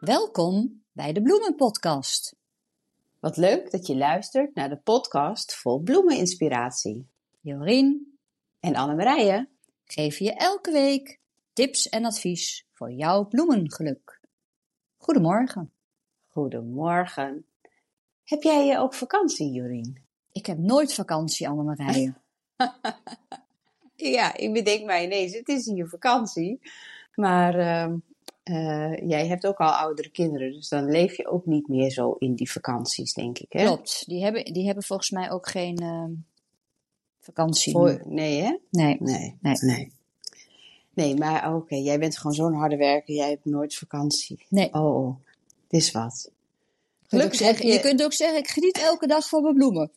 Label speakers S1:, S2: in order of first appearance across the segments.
S1: Welkom bij de Bloemenpodcast.
S2: Wat leuk dat je luistert naar de podcast vol bloemeninspiratie.
S1: Jorien
S2: En Annemarije,
S1: geeft je elke week tips en advies voor jouw bloemengeluk. Goedemorgen.
S2: goedemorgen. Heb jij eh, ook vakantie, Jorien?
S1: Ik heb nooit vakantie, Annemarije.
S2: Ja, ik bedenk mij ineens, het is hier vakantie. Maar ehm, eh, jij hebt ook al oudere kinderen, dus dan leef je ook niet meer zo in die vakanties, denk ik. Hè?
S1: Klopt, die hebben, die hebben volgens mij ook geen ehm, vakantie.
S2: Voor- nee, hè?
S1: Nee,
S2: Nee,
S1: Nee.
S2: nee. Nee, maar oké, jij bent gewoon zo'n harde werker, jij hebt nooit vakantie.
S1: nee.
S2: Oh, oh, dit is wat.
S1: Je kunt ook zeggen-
S2: heb
S1: je kunt ook zeggen, ik geniet elke dag van mijn bloemen.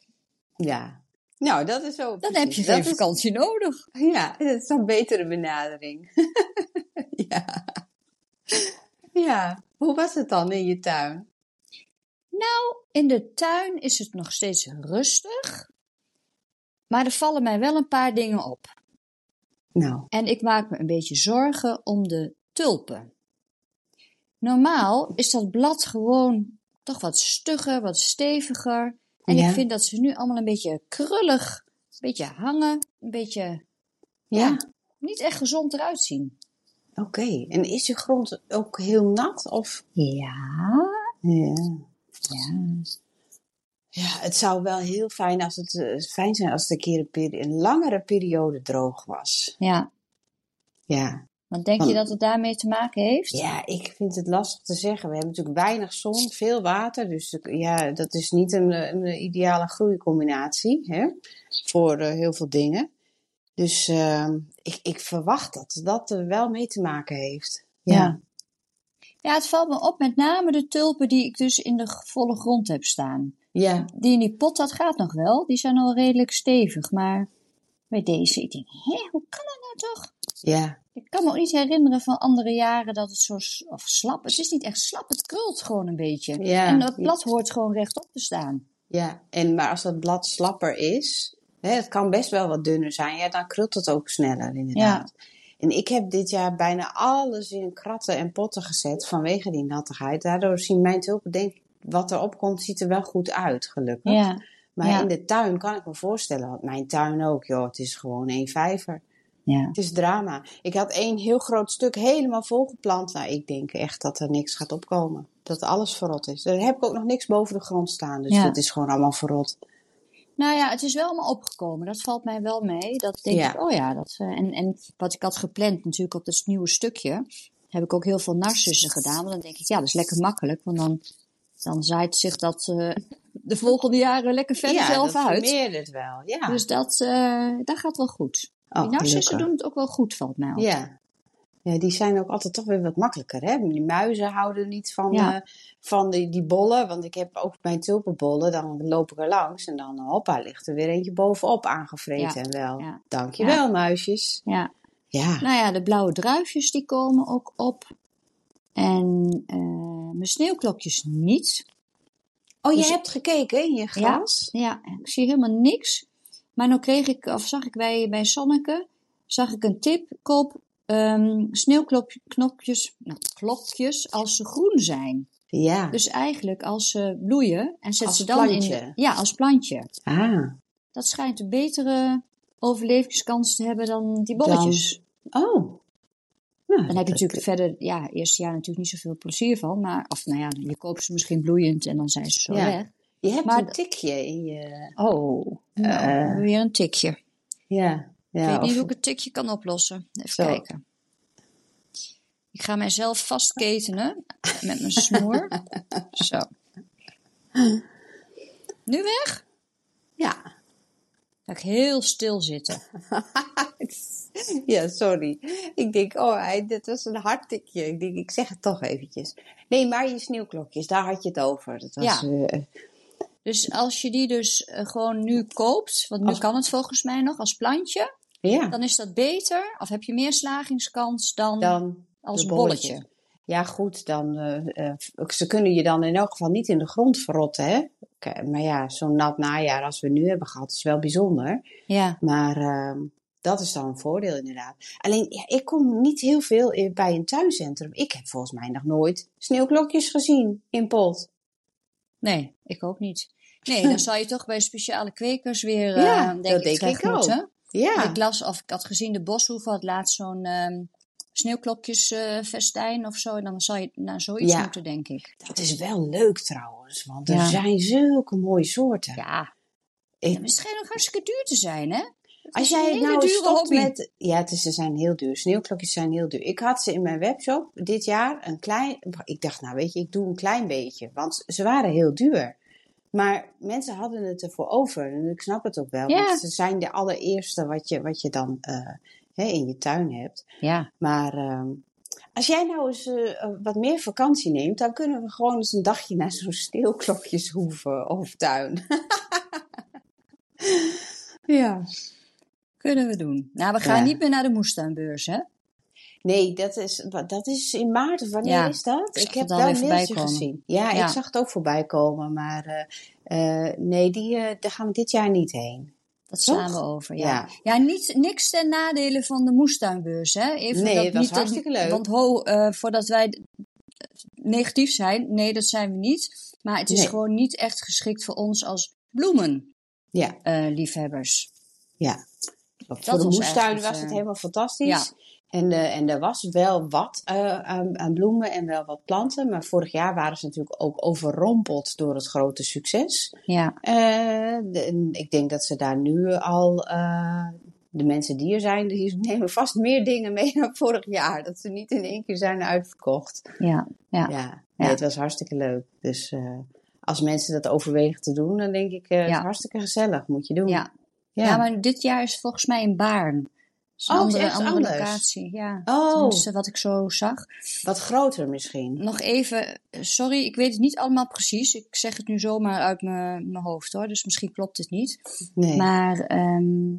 S2: Ja. Nou, dat is zo.
S1: Dan
S2: precies.
S1: heb je
S2: Dat
S1: geen
S2: is-
S1: vakantie nodig.
S2: Ja, dat is een betere benadering. ja. Ja. Hoe was het dan in je tuin?
S1: In de tuin is het nog steeds rustig, maar er vallen mij wel een paar dingen op.
S2: Nou,
S1: En ik maak me een beetje zorgen om de tulpen. Normaal is dat blad gewoon toch wat stugger, wat steviger. En
S2: Ja.
S1: ik vind dat ze nu allemaal een beetje krullig, een beetje hangen, een beetje
S2: ja.
S1: niet echt gezond eruit zien.
S2: Oké. En is je grond ook heel nat? Of?
S1: Ja,
S2: Ja.
S1: ja.
S2: Ja, het zou wel heel fijn, als het, eh, fijn zijn als het een keer een, peri- een langere periode droog was.
S1: Ja,
S2: Ja.
S1: want denk je
S2: Want-
S1: dat het daarmee te maken heeft?
S2: Ja, ik vind het lastig te zeggen. We hebben natuurlijk weinig zon, veel water. Dus eh, ja, dat is niet een, eh, een ideale groeicombinatie hè, voor eh, heel veel dingen. Dus ehm, ik, ik verwacht dat dat er wel mee te maken heeft.
S1: Ja. Ja, het valt me op met name de tulpen die ik dus in de volle grond heb staan.
S2: ja.
S1: Die in die pot, dat gaat nog wel. Die zijn al redelijk stevig. Maar bij deze, ik denk, hé, hoe kan dat nou toch?
S2: ja.
S1: Ik kan me ook niet herinneren van andere jaren dat het zo s- of slap. Het is niet echt slap, het krult gewoon een beetje.
S2: Ja.
S1: En dat blad hoort gewoon rechtop te staan.
S2: Ja, en, maar als dat blad slapper is, hè, het kan best wel wat dunner zijn, ja, dan krult het ook sneller inderdaad. En ik heb dit jaar bijna alles in kratten en potten gezet vanwege die nattigheid. Daardoor zien mijn tulpen, denk ik, wat erop komt, ziet er wel goed uit, gelukkig.
S1: Ja,
S2: maar
S1: ja.
S2: in de tuin kan ik me voorstellen, want mijn tuin ook, joh, het is gewoon één vijver.
S1: ja.
S2: Het is drama. Ik had één heel groot stuk helemaal volgeplant. Nou, ik denk echt dat er niks gaat opkomen. Dat alles verrot is. Daar heb ik ook nog niks boven de grond staan, dus
S1: Ja.
S2: dat is gewoon allemaal verrot.
S1: Nou ja, het is wel allemaal opgekomen. Dat valt mij wel mee. Dat denk
S2: Ja.
S1: ik, oh ja. Dat, eh, en, en wat ik had gepland natuurlijk op dat nieuwe stukje, heb ik ook heel veel narcissen gedaan. Want dan denk ik, ja, dat is lekker makkelijk. Want dan, dan zaait zich dat eh, de volgende jaren lekker verder zelf
S2: dat
S1: uit.
S2: vermeerdert wel. Ja,
S1: Dus dat, eh, dat gaat wel goed.
S2: Oh,
S1: die narcissen
S2: gelukkig.
S1: doen het ook wel goed, valt mij op.
S2: Ja. ja, die zijn ook altijd toch weer wat makkelijker. Hè? Die muizen houden niet van,
S1: Ja.
S2: eh, van die, die bollen. Want ik heb ook mijn tulpenbollen. Dan loop ik er langs en dan hoppa, ligt er weer eentje bovenop aangevreten.
S1: Ja,
S2: En wel,
S1: ja.
S2: dankjewel muisjes.
S1: Ja.
S2: Ja,
S1: Nou ja, de blauwe druifjes die komen ook op. En eh, mijn sneeuwklokjes niet.
S2: oh je
S1: dus-
S2: hebt gekeken in je glas?
S1: Ja, ik zie helemaal niks. Maar nou kreeg ik, of zag ik bij, bij Sonneke, zag ik een tip, koop ehm sneeuwklokjes, nou, klokjes als ze groen zijn.
S2: Ja.
S1: Dus eigenlijk als ze bloeien en zet
S2: Als
S1: ze dan in...
S2: plantje.
S1: Ja, als plantje.
S2: Ah,
S1: Dat schijnt een betere overlevingskans te hebben dan die bolletjes.
S2: oh. Nou,
S1: Dan heb je
S2: dat-
S1: natuurlijk verder, ja, eerste jaar natuurlijk niet zoveel plezier van. Maar, of nou ja, je koopt ze misschien bloeiend en dan zijn ze zo
S2: Ja.
S1: weg.
S2: Je hebt
S1: maar
S2: een
S1: dat-
S2: tikje in je...
S1: Oh,
S2: eh.
S1: weer een tikje.
S2: Ja.
S1: ik
S2: ja
S1: weet niet
S2: of-
S1: hoe ik het tikje kan oplossen. Even
S2: Zo.
S1: kijken. Ik ga mijzelf vastketenen eh, met mijn snoer. zo. Nu weg?
S2: Ja.
S1: Ga ik heel stil zitten.
S2: Ja, sorry. Ik denk, oh, hij- dit was een hard tikje. Ik denk, ik zeg het toch eventjes. Nee, maar je sneeuwklokjes, daar had je het over. Dat was,
S1: Ja.
S2: eh,
S1: Dus als je die dus eh, gewoon nu koopt, want nu
S2: Als-
S1: kan het volgens mij nog als plantje,
S2: ja,
S1: dan is dat beter of heb je meer slagingskans dan,
S2: dan
S1: als
S2: de
S1: een bolletje.
S2: Ja, goed, dan, eh, eh, ze kunnen je dan in elk geval niet in de grond verrotten, hè. Oké, Maar ja, zo'n nat najaar als we nu hebben gehad, is wel bijzonder.
S1: Ja,
S2: Maar ehm, Dat is dan een voordeel inderdaad. Alleen, ja, ik kom niet heel veel in- bij een tuincentrum. Ik heb volgens mij nog nooit sneeuwklokjes gezien in pot.
S1: Nee, ik ook niet. Nee, dan zou je toch bij speciale kwekers weer, eh
S2: Ja,
S1: denk
S2: dat
S1: ik,
S2: denk
S1: terecht
S2: ik ook.
S1: moeten.
S2: Ja.
S1: Ik las, of ik had gezien, de Boshoef had laatst zo'n ehm sneeuwklokjesfestijn eh, of zo. En dan zou je naar zoiets
S2: Ja.
S1: moeten, denk ik.
S2: Dat is wel leuk trouwens, want er
S1: Ja.
S2: zijn zulke mooie soorten.
S1: Ja.
S2: Ik-
S1: Ja, maar het schijnt ook hartstikke duur te zijn, hè? Het
S2: Als
S1: is een
S2: jij
S1: hele
S2: nou eens
S1: dure
S2: stopt
S1: hobby.
S2: met... Ja, het is, ze zijn heel duur. Sneeuwklokjes zijn heel duur. Ik had ze in mijn webshop dit jaar een klein... Ik dacht, nou weet je, ik doe een klein beetje. Want ze waren heel duur. Maar mensen hadden het ervoor over. En ik snap het ook wel.
S1: Ja.
S2: Want ze zijn de allereerste wat je, wat je dan eh, hè, in je tuin hebt.
S1: Ja.
S2: Maar ehm, als jij nou eens eh, eh, wat meer vakantie neemt... dan kunnen we gewoon eens een dagje naar zo'n sneeuwklokjeshoeven of tuin. ja.
S1: Kunnen we doen. Nou, we gaan
S2: Ja.
S1: niet meer naar de moestuinbeurs, hè?
S2: Nee, dat is, wa- dat is in maart. of Wanneer
S1: Ja,
S2: is dat?
S1: ik
S2: Ik,
S1: zag
S2: heb
S1: het al
S2: wel
S1: weer
S2: een
S1: voorbij
S2: mailtje
S1: komen.
S2: gezien. Ja,
S1: Ja.
S2: ik zag het ook voorbij komen. Maar eh, eh, nee, die, eh, daar gaan we dit jaar niet heen.
S1: Dat
S2: Toch?
S1: slaan we over, ja. Ja,
S2: Ja.
S1: niet, niks ten nadele van de moestuinbeurs, hè? Even
S2: Nee,
S1: dat
S2: dat is
S1: niet
S2: hartstikke leuk.
S1: Want ho, eh, voordat wij d- negatief zijn, nee, dat zijn we niet. Maar het is
S2: Nee.
S1: gewoon niet echt geschikt voor ons als bloemenliefhebbers.
S2: Ja,
S1: liefhebbers.
S2: ja. Voor
S1: was
S2: de moestuin
S1: eigenlijk,
S2: was het
S1: eh,
S2: helemaal fantastisch. En, eh, en er was wel wat eh, aan, aan bloemen en wel wat planten. Maar vorig jaar waren ze natuurlijk ook overrompeld door het grote succes.
S1: ja.
S2: Eh, de- ik denk dat ze daar nu al, eh, de mensen die er zijn, die nemen vast meer dingen mee dan vorig jaar. Dat ze niet in één keer zijn uitverkocht.
S1: ja. Ja.
S2: Ja, Nee,
S1: Ja.
S2: het was hartstikke leuk. Dus eh, als mensen dat overwegen te doen, dan denk ik, eh, het
S1: Ja.
S2: is hartstikke gezellig, moet je doen.
S1: Ja.
S2: Ja.
S1: Ja, maar dit jaar is volgens mij in Baarn. Dat is een
S2: Oh, het is
S1: andere,
S2: ergens
S1: andere
S2: anders.
S1: locatie. Ja.
S2: Oh,
S1: Tenminste, wat ik zo zag.
S2: wat groter misschien.
S1: Nog even, eh, sorry, ik weet het niet allemaal precies. Ik zeg het nu zomaar uit mijn mijn hoofd hoor, dus misschien klopt het niet.
S2: Nee.
S1: Maar ehm,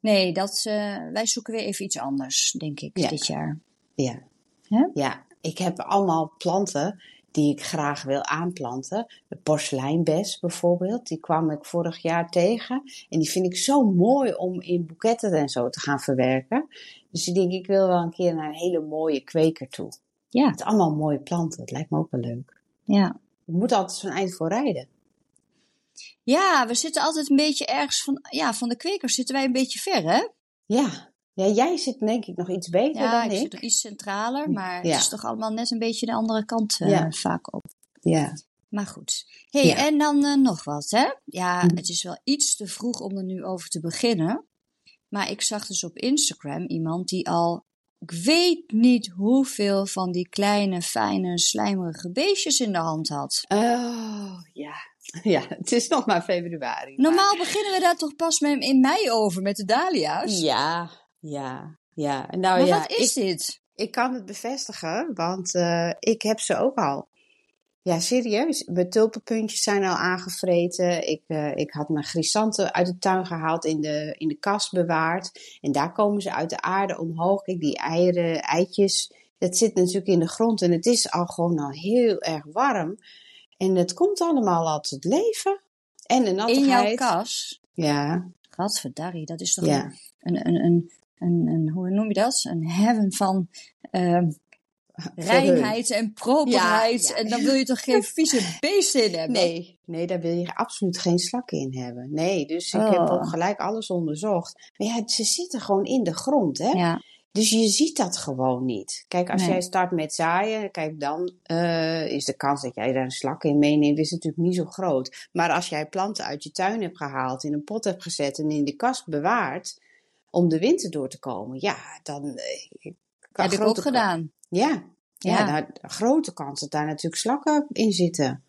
S1: nee, dat, eh, wij zoeken weer even iets anders, denk ik,
S2: Ja.
S1: dit jaar.
S2: Ja.
S1: Hè?
S2: Ja, ik heb allemaal planten die ik graag wil aanplanten. De porseleinbes bijvoorbeeld, die kwam ik vorig jaar tegen. En die vind ik zo mooi om in boeketten en zo te gaan verwerken. Dus ik denk, ik wil wel een keer naar een hele mooie kweker toe.
S1: Ja,
S2: Het zijn allemaal mooie planten, dat lijkt me ook wel leuk.
S1: ja.
S2: Je moet altijd zo'n eind voor rijden.
S1: Ja, we zitten altijd een beetje ergens van, ja, van de kwekers zitten wij een beetje ver, hè?
S2: Ja, ja jij zit denk ik nog iets beter
S1: Ja,
S2: dan
S1: ik
S2: ik.
S1: zit iets centraler, maar
S2: Ja.
S1: het is toch allemaal net een beetje de andere kant eh,
S2: Ja.
S1: vaak op.
S2: Ja.
S1: Maar goed. hey,
S2: Ja.
S1: en dan eh, nog wat, hè? Ja,
S2: Mhm.
S1: het is wel iets te vroeg om er nu over te beginnen. Maar ik zag dus op Instagram iemand die al, ik weet niet hoeveel van die kleine, fijne, slijmerige beestjes in de hand had.
S2: Oh, ja. Ja, het is nog maar februari. maar-
S1: Normaal beginnen we daar toch pas met, in mei over, met de dahlia's.
S2: Ja, ja, ja. Nou
S1: maar
S2: ja,
S1: wat is
S2: ik,
S1: dit?
S2: ik kan het bevestigen, want eh, ik heb ze ook al. Ja, serieus. Mijn tulpenpuntjes zijn al aangevreten. Ik, eh, ik had mijn grisanten uit de tuin gehaald, in de, in de kast bewaard. En daar komen ze uit de aarde omhoog. Kijk, die eieren, eitjes, dat zit natuurlijk in de grond. En het is al gewoon al heel erg warm. En het komt allemaal al tot leven. En de
S1: In
S2: nattigheid.
S1: jouw kas?
S2: Ja,
S1: Gadverdarrie, dat is toch
S2: ja.
S1: een, een, een, een, een, hoe noem je dat? Een heaven van ehm, reinheid en properheid.
S2: Ja, ja.
S1: En dan wil je toch geen vieze beesten in hebben?
S2: Nee, nee, daar wil je absoluut geen slakken in hebben. Nee, dus ik
S1: Oh.
S2: heb ook gelijk alles onderzocht. Maar ja, ze zitten gewoon in de grond, hè?
S1: Ja,
S2: Dus je ziet dat gewoon niet. Kijk, als
S1: Nee.
S2: jij start met zaaien, kijk, dan eh, is de kans dat jij daar een slak in meeneemt, is natuurlijk niet zo groot. Maar als jij planten uit je tuin hebt gehaald, in een pot hebt gezet en in de kast bewaard, om de winter door te komen, ja, dan eh, kan
S1: heb ik ook
S2: grote ka-
S1: gedaan.
S2: Ja, ja,
S1: Ja.
S2: daar- grote kans dat daar natuurlijk slakken in zitten.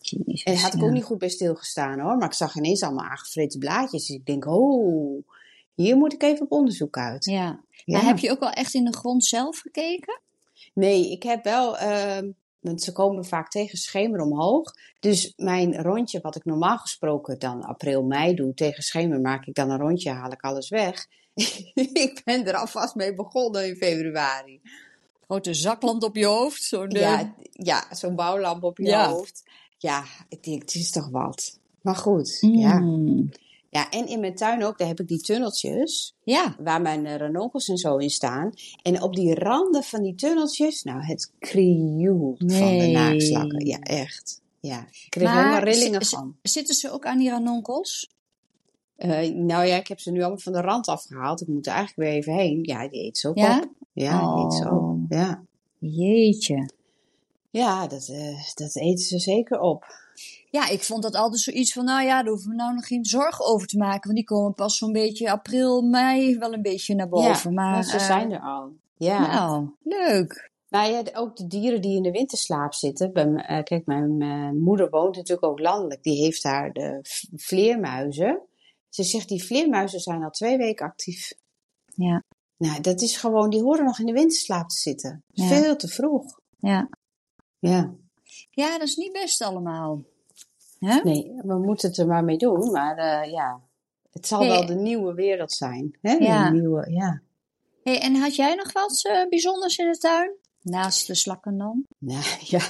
S1: Jezus,
S2: En daar had ik
S1: ja.
S2: ook niet goed bij stilgestaan hoor. Maar ik zag ineens allemaal aangevreten blaadjes. Dus ik denk, oh, hier moet ik even op onderzoek uit.
S1: Ja.
S2: Ja.
S1: Maar heb je ook wel echt in de grond zelf gekeken?
S2: Nee, ik heb wel, ehm, want ze komen vaak tegen schemer omhoog. Dus mijn rondje, wat ik normaal gesproken dan april, mei doe, tegen schemer maak ik dan een rondje, haal ik alles weg. ik ben er alvast mee begonnen in februari.
S1: Grote zaklamp op je hoofd? Zo'n, eh,
S2: Ja, ja zo'n bouwlamp op je
S1: Ja.
S2: hoofd. Ja, ik denk, het is toch wat. Maar goed, ja.
S1: mm.
S2: Ja, en in mijn tuin ook, daar heb ik die tunneltjes
S1: Ja,
S2: waar mijn eh, ranonkels en zo in staan. En op die randen van die tunneltjes, nou, het krioelt van de
S1: Nee.
S2: naakslakken. Ja, echt. Ja, ik kreeg
S1: Maar
S2: helemaal rillingen
S1: z- z-
S2: van.
S1: zitten ze ook aan die ranonkels?
S2: Eh, nou ja, ik heb ze nu allemaal van de rand afgehaald. Ik moet er eigenlijk weer even heen. Ja, die eet ze ook
S1: Ja?
S2: op. Ja, die eet ze ook.
S1: Oh.
S2: Ja,
S1: Jeetje.
S2: ja dat, eh, dat eten ze zeker op.
S1: Ja, ik vond dat altijd zoiets van, nou ja, daar hoeven we nou nog geen zorgen over te maken. Want die komen pas zo'n beetje april, mei wel een beetje naar boven.
S2: ja,
S1: maar
S2: ze
S1: eh,
S2: zijn er al. Ja.
S1: Nou, leuk.
S2: Nou ja, de- ook de dieren die in de winterslaap zitten. Bij, m- eh, kijk, mijn eh, moeder woont natuurlijk ook landelijk. Die heeft daar de v- vleermuizen. Ze zegt, die vleermuizen zijn al twee weken actief.
S1: Ja,
S2: Nou, dat is gewoon, die horen nog in de winterslaap te zitten.
S1: Ja.
S2: Veel te vroeg.
S1: ja.
S2: Ja.
S1: Ja, dat is niet best allemaal. Hè?
S2: Nee, we moeten het er maar mee doen. Maar eh, ja, het zal
S1: Nee.
S2: wel de nieuwe wereld zijn. Hè?
S1: Ja.
S2: De nieuwe, ja.
S1: Hey, en had jij nog wat eh, bijzonders in de tuin? Naast de slakken dan?
S2: Nou ja.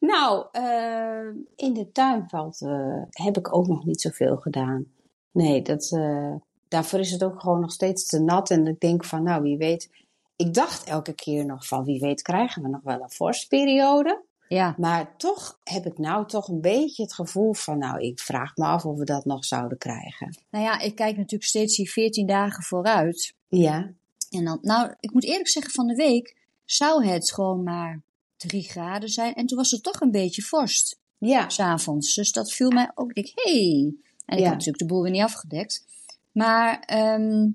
S2: nou, eh, in de tuin valt, eh, heb ik ook nog niet zoveel gedaan. Nee, dat, eh, daarvoor is het ook gewoon nog steeds te nat. En ik denk van, nou wie weet. Ik dacht elke keer nog van, wie weet krijgen we nog wel een vorstperiode.
S1: Ja,
S2: Maar toch heb ik nou toch een beetje het gevoel van, nou ik vraag me af of we dat nog zouden krijgen.
S1: nou ja, ik kijk natuurlijk steeds die 14 dagen vooruit.
S2: Ja,
S1: En dan, nou, ik moet eerlijk zeggen, van de week zou het gewoon maar 3 graden zijn. En toen was het toch een beetje vorst,
S2: ja,
S1: s'avonds. Dus dat viel mij ook, ik denk, hey. En ik
S2: Ja.
S1: had natuurlijk de boel weer niet afgedekt. Maar ehm,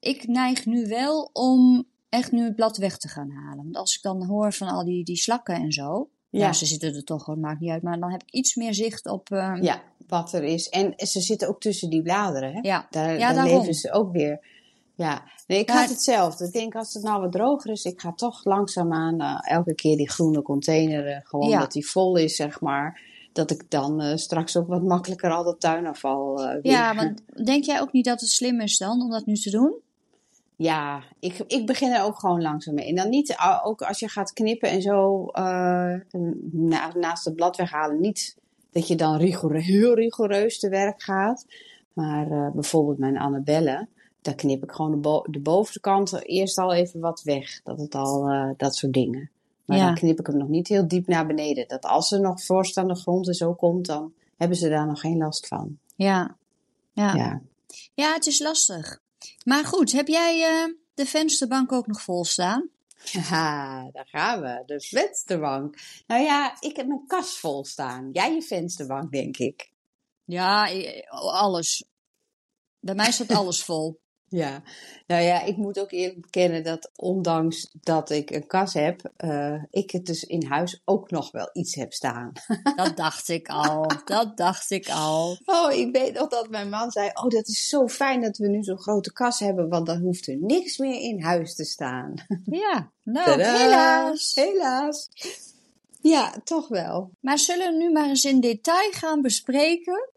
S1: ik neig nu wel om echt nu het blad weg te gaan halen. Want als ik dan hoor van al die, die slakken en zo. Ja.
S2: ja,
S1: ze zitten er toch gewoon, maakt niet uit. Maar dan heb ik iets meer zicht op... ehm,
S2: ja, wat er is. En ze zitten ook tussen die bladeren, hè?
S1: ja.
S2: Daar,
S1: Ja,
S2: daar
S1: daarom.
S2: leven ze ook weer. Ja, nee, ik
S1: Ja,
S2: had hetzelfde. Ik denk, als het nou wat droger is, ik ga toch langzaamaan eh, elke keer die groene container, eh, gewoon
S1: Ja.
S2: dat die vol is, zeg maar. Dat ik dan eh, straks ook wat makkelijker al dat tuinafval eh weer.
S1: Ja, want denk jij ook niet dat het slim is dan om dat nu te doen?
S2: Ja, ik, ik begin er ook gewoon langzaam mee. En dan niet, ah, ook als je gaat knippen en zo eh, na- naast het blad weghalen, niet dat je dan rigoure- heel rigoureus te werk gaat. Maar eh, bijvoorbeeld mijn Annabelle, daar knip ik gewoon de, bo- de bovenkant eerst al even wat weg. Dat het al, eh, dat soort dingen. Maar
S1: Ja.
S2: dan knip ik hem nog niet heel diep naar beneden. Dat als er nog vorst aan de grond en zo komt, dan hebben ze daar nog geen last van.
S1: Ja. Ja, ja.
S2: Ja.
S1: het is lastig. Maar goed, heb jij eh, de vensterbank ook nog vol staan?
S2: Haha, Ah, daar gaan we. De vensterbank. Nou ja, ik heb mijn kast vol staan. Jij je vensterbank, denk ik.
S1: Ja, eh, alles. Bij mij staat alles vol.
S2: Ja. Nou ja, ik moet ook eerlijk bekennen dat ondanks dat ik een kast heb, eh, ik het dus in huis ook nog wel iets heb staan.
S1: Dat dacht ik al. Dat dacht ik al.
S2: Oh, ik weet nog dat mijn man zei, oh dat is zo fijn dat we nu zo'n grote kast hebben, want dan hoeft er niks meer in huis te staan.
S1: Ja, nou,
S2: Tadaa!
S1: helaas.
S2: Oh, Helaas. Ja, toch wel.
S1: Maar zullen we nu maar eens in detail gaan bespreken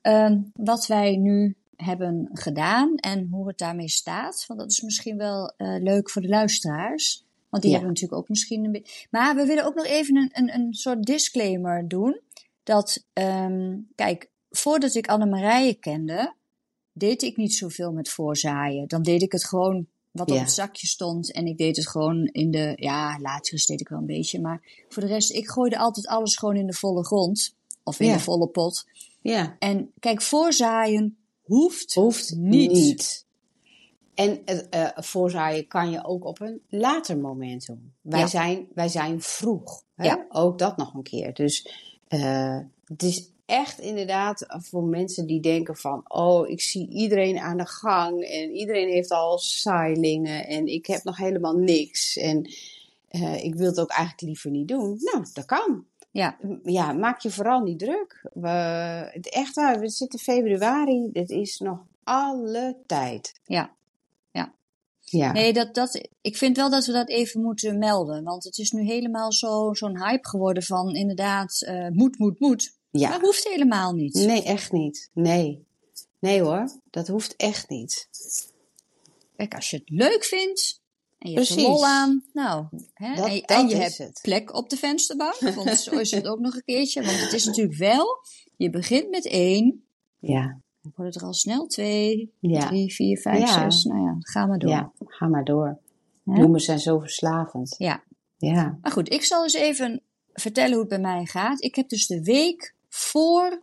S1: ehm, wat wij nu hebben gedaan en hoe het daarmee staat? Want dat is misschien wel eh, leuk voor de luisteraars. Want die
S2: Ja.
S1: hebben natuurlijk ook misschien een beetje. Maar we willen ook nog even een, een, een soort disclaimer doen. Dat, ehm, kijk, voordat ik Annemarije kende, deed ik niet zoveel met voorzaaien. Dan deed ik het gewoon wat op
S2: Ja.
S1: het zakje stond. En ik deed het gewoon in de. Ja, laatjes deed ik wel een beetje. Maar voor de rest, ik gooide altijd alles gewoon in de volle grond. Of in
S2: Ja.
S1: de volle pot.
S2: Ja.
S1: En kijk, voorzaaien hoeft.
S2: Hoeft
S1: Niet.
S2: niet. En het eh, voorzaaien kan je ook op een later moment doen. Wij,
S1: Ja.
S2: zijn, wij zijn vroeg. Hè?
S1: Ja.
S2: Ook dat nog een keer. Dus eh, het is echt inderdaad voor mensen die denken van... oh, ik zie iedereen aan de gang en iedereen heeft al saailingen... en ik heb nog helemaal niks en eh, ik wil het ook eigenlijk liever niet doen. Nou, dat kan.
S1: Ja.
S2: Ja, maak je vooral niet druk. We, het- echt waar, we zitten februari. Dit is nog alle tijd.
S1: Ja. Ja.
S2: Ja.
S1: Nee, dat, dat, ik vind wel dat we dat even moeten melden. Want het is nu helemaal zo- zo'n hype geworden van inderdaad, eh, moet, moet, moet.
S2: ja.
S1: Maar hoeft helemaal niet.
S2: Nee, echt niet. Nee. Nee hoor, dat hoeft echt niet.
S1: Kijk, als je het leuk vindt en je hebt
S2: Precies.
S1: er lol aan, nou, hè,
S2: Dat-
S1: en, je-
S2: dat
S1: en je
S2: is
S1: hebt
S2: het.
S1: plek op de vensterbank, want zo is het ook nog een keertje. Want het is natuurlijk wel, je begint met één
S2: Ja.
S1: Dan worden er al snel twee,
S2: Ja.
S1: drie, vier, vijf,
S2: Ja.
S1: zes. Nou ja, ga maar door. Ja.
S2: ja, ga maar door.
S1: Hè?
S2: Bloemen zijn zo verslavend. Ja.
S1: Maar goed, ik zal eens even vertellen hoe het bij mij gaat. Ik heb dus de week voor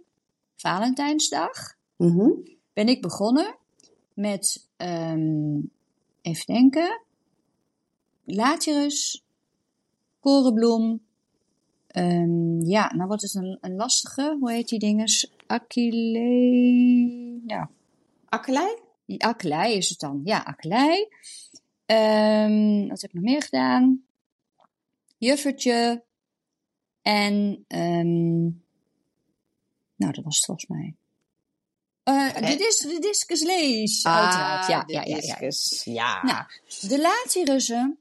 S1: Valentijnsdag
S2: Mhm.
S1: ben ik begonnen met, ehm, even denken, Latirus, korenbloem. ehm, ja, nou wordt het een, een lastige, hoe heet die dinges? Achille, nou,
S2: Akkelei?
S1: die Akkelei is het dan. Ja, Akkelei. Ehm, wat heb ik nog meer gedaan? Juffertje. En, ehm, nou, dat was het volgens mij. Eh,
S2: Eh.
S1: de, dis de discus lees,
S2: Ah,
S1: uiteraard. Ja, ja, ja, ja.
S2: ja.
S1: Nou, de latirussen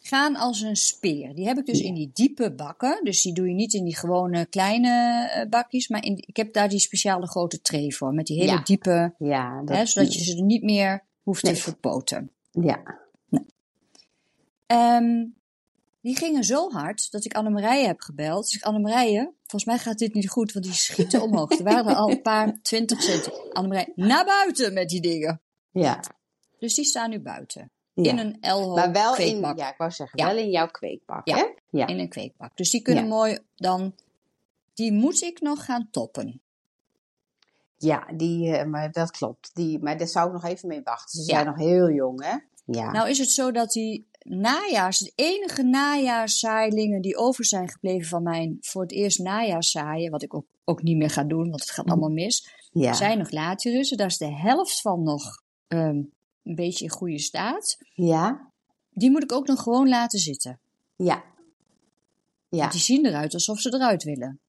S1: gaan als een speer. Die heb ik dus in die diepe bakken. Dus die doe je niet in die gewone kleine eh, bakjes. Maar in, ik heb daar die speciale grote tray voor. Met die hele
S2: Ja.
S1: diepe
S2: ja, dat,
S1: hè, zodat je ze er niet meer hoeft
S2: Nee.
S1: te verpoten.
S2: Ja.
S1: Ehm, die gingen zo hard dat ik Annemarije heb gebeld. Dus ik, Annemarije, volgens mij gaat dit niet goed, want die schieten omhoog. Er waren er al een paar twintig cent. Annemarije, naar buiten met die dingen.
S2: Ja.
S1: Dus die staan nu buiten.
S2: ja.
S1: In een l
S2: maar wel
S1: kweekbak.
S2: in, ja, ik wou zeggen,
S1: Ja.
S2: wel in jouw kweekbak,
S1: Ja.
S2: hè? Ja.
S1: In een kweekbak. Dus die kunnen
S2: Ja.
S1: mooi dan... Die moet ik nog gaan toppen.
S2: Ja, die, eh, maar dat klopt. Die, maar daar zou ik nog even mee wachten. Ze
S1: Ja.
S2: zijn nog heel jong, hè? Ja.
S1: Nou is het zo dat die najaars, de enige najaarszaaiingen die over zijn gebleven van mijn voor het eerst najaarszaaien, wat ik ook, ook niet meer ga doen, want het gaat allemaal mis,
S2: Mm. ja.
S1: zijn nog latirussen. Daar is de helft van nog ehm, een beetje in goede staat.
S2: ja.
S1: Die moet ik ook nog gewoon laten zitten.
S2: Ja. Ja.
S1: Want die zien eruit alsof ze eruit willen.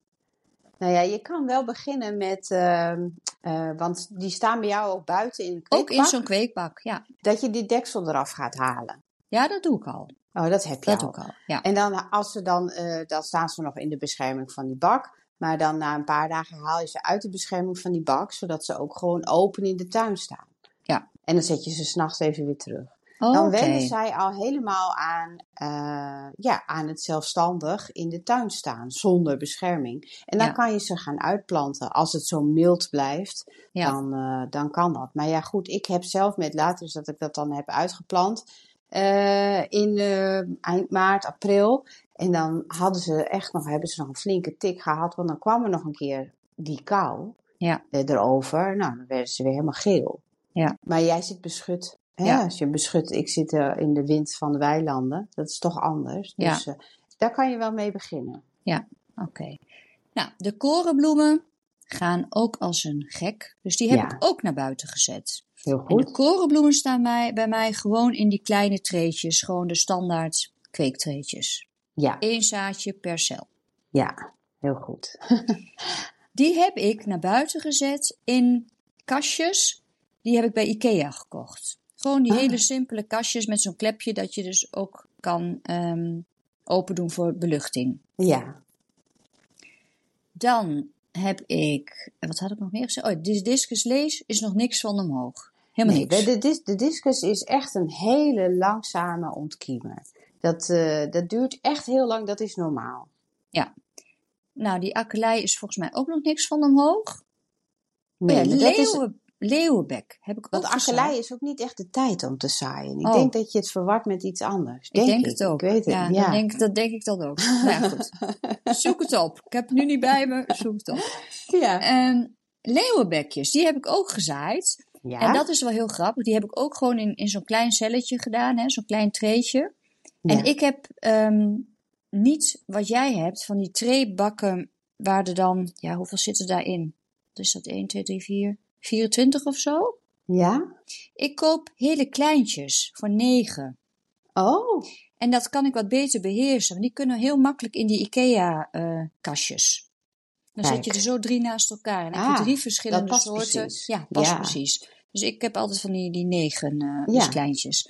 S2: Nou ja, je kan wel beginnen met, ehm, eh, want die staan bij jou ook buiten in de
S1: Ook
S2: kweekbak,
S1: in zo'n kweekbak, ja.
S2: dat je die deksel eraf gaat halen.
S1: Ja, dat doe ik al.
S2: Oh, dat heb je
S1: Dat
S2: al.
S1: doe ik al, ja.
S2: En dan, als ze dan, eh, dan staan ze nog in de bescherming van die bak. Maar dan na een paar dagen haal je ze uit de bescherming van die bak, zodat ze ook gewoon open in de tuin staan.
S1: Ja.
S2: En dan zet je ze s'nachts even weer terug.
S1: Oké.
S2: Dan wennen zij al helemaal aan, eh, ja, aan het zelfstandig in de tuin staan, zonder bescherming. En dan
S1: Ja.
S2: kan je ze gaan uitplanten. Als het zo mild blijft,
S1: Ja.
S2: dan, eh, dan kan dat. Maar ja, goed, ik heb zelf met later, dus dat ik dat dan heb uitgeplant eh, in eh, eind maart, april. En dan hadden ze echt nog, hebben ze nog een flinke tik gehad, want dan kwam er nog een keer die kou
S1: Ja.
S2: eh, erover. Nou, dan werden ze weer helemaal geel.
S1: Ja.
S2: Maar jij zit beschut. Hè?
S1: Ja.
S2: Als je beschut, ik zit eh, in de wind van de weilanden. Dat is toch anders.
S1: Ja.
S2: Dus eh, daar kan je wel mee beginnen.
S1: Oké. Nou, de korenbloemen gaan ook als een gek. Dus die heb
S2: Ja.
S1: ik ook naar buiten gezet.
S2: Heel
S1: En de
S2: goed.
S1: korenbloemen staan mij, bij mij gewoon in die kleine treetjes. Gewoon de standaard kweektreetjes.
S2: Ja,
S1: Eén zaadje per cel.
S2: ja. Heel goed.
S1: Die heb ik naar buiten gezet in kastjes. Die heb ik bij Ikea gekocht. Gewoon die
S2: Ah.
S1: hele simpele kastjes met zo'n klepje dat je dus ook kan ehm open doen voor beluchting.
S2: Ja,
S1: Dan heb ik, eh, wat had ik nog meer gezegd? Oh, dis discus lees is nog niks van omhoog. Helemaal
S2: Nee,
S1: niks.
S2: de, dis- de discus is echt een hele langzame ontkiemen. Dat, eh, dat duurt echt heel lang, dat is normaal.
S1: Nou, die akkelei is volgens mij ook nog niks van omhoog.
S2: Nee,
S1: oh ja,
S2: maar dat is,
S1: leeuwen, leeuwenbek heb ik ook
S2: Want
S1: gezaaid.
S2: akkelei is ook niet echt de tijd om te zaaien. Ik
S1: Oh.
S2: denk dat je het verward met iets anders.
S1: Ik denk
S2: ik.
S1: het ook.
S2: Ik weet het.
S1: ja,
S2: Ja,
S1: Dan denk, dat denk ik dat ook. nou ja, goed. Zoek het op. Ik heb het nu niet bij me. Zoek het op.
S2: ja.
S1: Ehm, leeuwenbekjes, die heb ik ook gezaaid.
S2: ja.
S1: En dat is wel heel grappig. Die heb ik ook gewoon in, in zo'n klein celletje gedaan. hè, Zo'n klein treetje.
S2: Ja.
S1: En ik heb ehm, niet wat jij hebt van die treebakken waar er dan, ja, hoeveel zitten daarin? Wat is dat? 1, 2, 3, 4, 24 of zo?
S2: Ja?
S1: Ik koop hele kleintjes voor 9.
S2: Oh,
S1: En dat kan ik wat beter beheersen, want die kunnen heel makkelijk in die IKEA-kastjes. dan
S2: Kijk.
S1: zet je er zo drie naast elkaar en dan heb
S2: Ah,
S1: je drie verschillende
S2: dat past
S1: soorten.
S2: precies.
S1: Ja, past
S2: Ja.
S1: precies. Dus ik heb altijd van die, die negen eh,
S2: Ja.
S1: dus kleintjes.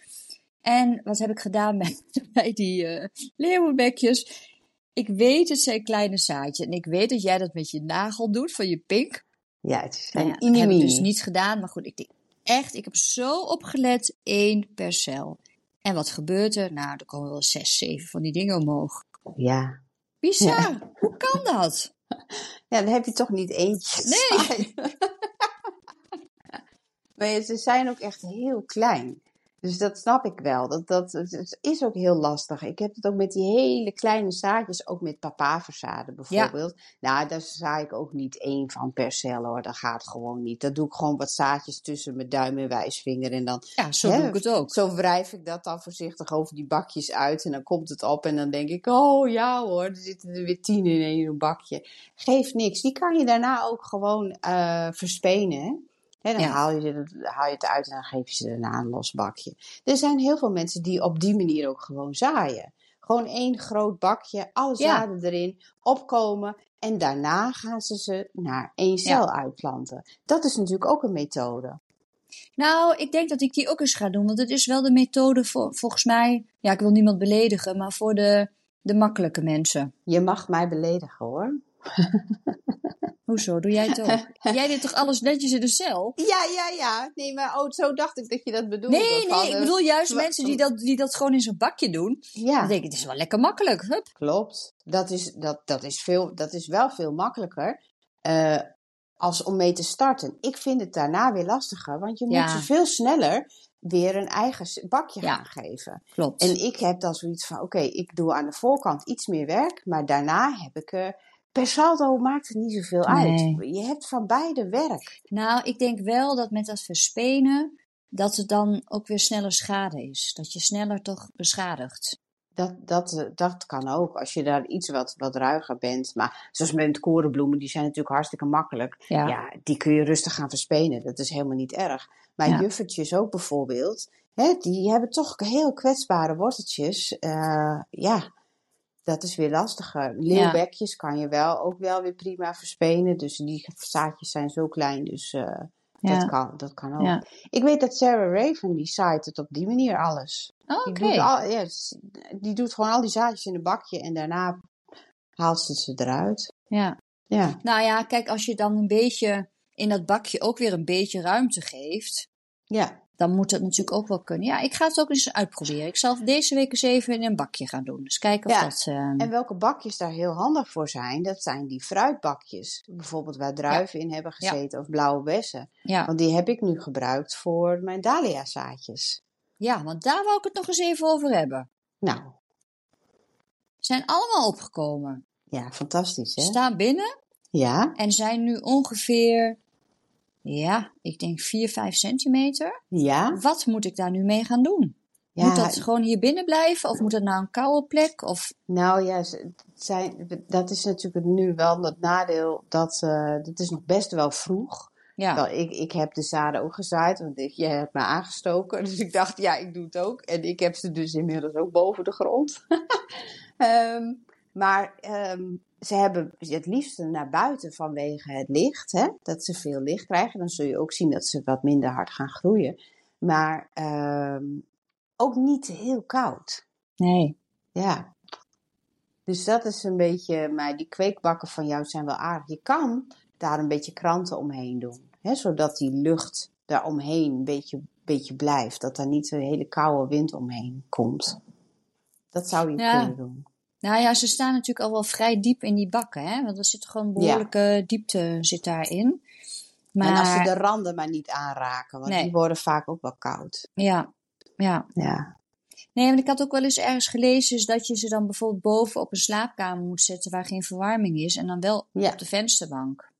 S1: En wat heb ik gedaan bij, bij die eh, leeuwenbekjes? Ik weet het zijn kleine zaadje en ik weet dat jij dat met je nagel doet van je pink.
S2: ja, het is
S1: Nou
S2: een
S1: ja, dat heb ik dus
S2: inimini.
S1: niet gedaan, maar goed, ik denk echt, ik heb zo opgelet, één per cel. En wat gebeurt er? Nou, er komen wel zes, zeven van die dingen omhoog.
S2: Ja.
S1: Bizar, hoe kan dat?
S2: ja, dan heb je toch niet eentje.
S1: Nee.
S2: gezaaid. Maar ze zijn ook echt heel klein. Dus dat snap ik wel. Dat, dat, dat is ook heel lastig. Ik heb het ook met die hele kleine zaadjes, ook met papaverzaden bijvoorbeeld. Nou, daar zaai ik ook niet één van per cel hoor. Dat gaat gewoon niet. Dat doe ik gewoon wat zaadjes tussen mijn duim en wijsvinger. En dan
S1: Ja, zo doe ik het ook.
S2: zo wrijf ik dat dan voorzichtig over die bakjes uit. En dan komt het op en dan denk ik, oh ja hoor, er zitten er weer tien in één bakje. Geeft niks. Die kan je daarna ook gewoon eh, verspenen. hè. Hè, dan
S1: Ja.
S2: haal, je het, haal je het uit en dan geef je ze daarna een los bakje. Er zijn heel veel mensen die op die manier ook gewoon zaaien. Gewoon één groot bakje, alle
S1: Ja.
S2: zaden erin, opkomen. En daarna gaan ze ze naar één cel uitplanten. Dat is natuurlijk ook een methode.
S1: Nou, ik denk dat ik die ook eens ga doen. Want het is wel de methode voor, volgens mij. Ja, ik wil niemand beledigen, maar voor de, de makkelijke mensen.
S2: Je mag mij beledigen hoor.
S1: Hoezo? Doe jij het ook? jij deed toch alles netjes in de cel?
S2: Ja, ja, ja. Nee, maar oh, zo dacht ik dat je dat bedoelde.
S1: Nee,
S2: van,
S1: nee, ik
S2: eh,
S1: bedoel juist
S2: wa-
S1: mensen die dat, die dat gewoon in zo'n bakje doen.
S2: Ja,
S1: Dan denk ik, het is wel lekker makkelijk. Hup.
S2: klopt. Dat is, dat, dat, is veel, dat is wel veel makkelijker eh, als om mee te starten. Ik vind het daarna weer lastiger, want je
S1: Ja.
S2: moet ze veel sneller weer een eigen s- bakje
S1: Ja.
S2: gaan geven.
S1: Klopt.
S2: En ik heb dan zoiets van, oké, ik doe aan de voorkant iets meer werk, maar daarna heb ik... eh, per saldo maakt het niet zoveel
S1: Nee.
S2: uit. Je hebt van beide werk.
S1: Nou, ik denk wel dat met dat verspenen, dat het dan ook weer sneller schade is. Dat je sneller toch beschadigt.
S2: Dat, dat, eh, dat kan ook, als je daar iets wat, wat ruiger bent. Maar zoals met korenbloemen, die zijn natuurlijk hartstikke makkelijk.
S1: Ja.
S2: Ja, die kun je rustig gaan verspenen. Dat is helemaal niet erg. Maar
S1: Ja.
S2: juffertjes ook bijvoorbeeld, hè, die hebben toch heel kwetsbare worteltjes. Eh, ja, dat is weer lastiger. Leeuwbekjes kan je wel ook wel weer prima verspenen. Dus die zaadjes zijn zo klein, dus eh,
S1: Ja.
S2: dat, kan, dat kan ook.
S1: Ja.
S2: Ik weet dat Sarah Raven, die zaait het op die manier alles.
S1: Oh, Oké.
S2: Die, doet al, ja, s- die doet gewoon al die zaadjes in een bakje en daarna haalt ze ze eruit.
S1: Ja.
S2: Ja,
S1: Nou ja, kijk, als je dan een beetje in dat bakje ook weer een beetje ruimte geeft,
S2: ja.
S1: dan moet dat natuurlijk ook wel kunnen. Ja, ik ga het ook eens uitproberen. Ik zal deze week eens even in een bakje gaan doen. Dus kijken of
S2: Ja,
S1: dat. eh,
S2: En welke bakjes daar heel handig voor zijn, dat zijn die fruitbakjes. Bijvoorbeeld waar druiven in hebben
S1: Ja.
S2: gezeten of blauwe bessen.
S1: ja.
S2: Want die heb ik nu gebruikt voor mijn dahlia zaadjes.
S1: ja, want daar wou ik het nog eens even over hebben.
S2: Nou,
S1: Zijn allemaal opgekomen.
S2: ja, fantastisch hè?
S1: Staan binnen
S2: Ja,
S1: en zijn nu ongeveer. Ja, ik denk 4, 5 centimeter.
S2: ja,
S1: Wat moet ik daar nu mee gaan doen?
S2: ja.
S1: Moet dat gewoon hier binnen blijven? Of moet dat naar een koude plek? Of
S2: Nou ja, ze- het zijn, dat is natuurlijk nu wel het nadeel dat eh het is nog best wel vroeg.
S1: ja,
S2: Wel, ik, ik heb de zaden ook gezaaid, want ik, jij hebt me aangestoken. Dus ik dacht, ja, ik doe het ook. En ik heb ze dus inmiddels ook boven de grond. Ehm, maar ehm, ze hebben het liefste naar buiten vanwege het licht. Hè? Dat ze veel licht krijgen. Dan zul je ook zien dat ze wat minder hard gaan groeien. Maar ehm, ook niet heel koud.
S1: nee.
S2: Ja. Dus dat is een beetje, maar die kweekbakken van jou zijn wel aardig. Je kan daar een beetje kranten omheen doen, hè, zodat die lucht daaromheen een beetje, beetje blijft. Dat daar niet zo'n hele koude wind omheen komt. Dat zou je
S1: Ja.
S2: kunnen doen.
S1: Nou ja, ze staan natuurlijk al wel vrij diep in die bakken, hè? Want er zit gewoon behoorlijke diepte zit daarin. Maar
S2: En als ze de randen maar niet aanraken, want
S1: Nee.
S2: die worden vaak ook wel koud.
S1: ja, ja.
S2: Ja.
S1: Nee, want ik had ook wel eens ergens gelezen is dat je ze dan bijvoorbeeld boven op een slaapkamer moet zetten waar geen verwarming is en dan wel
S2: Ja.
S1: op de vensterbank.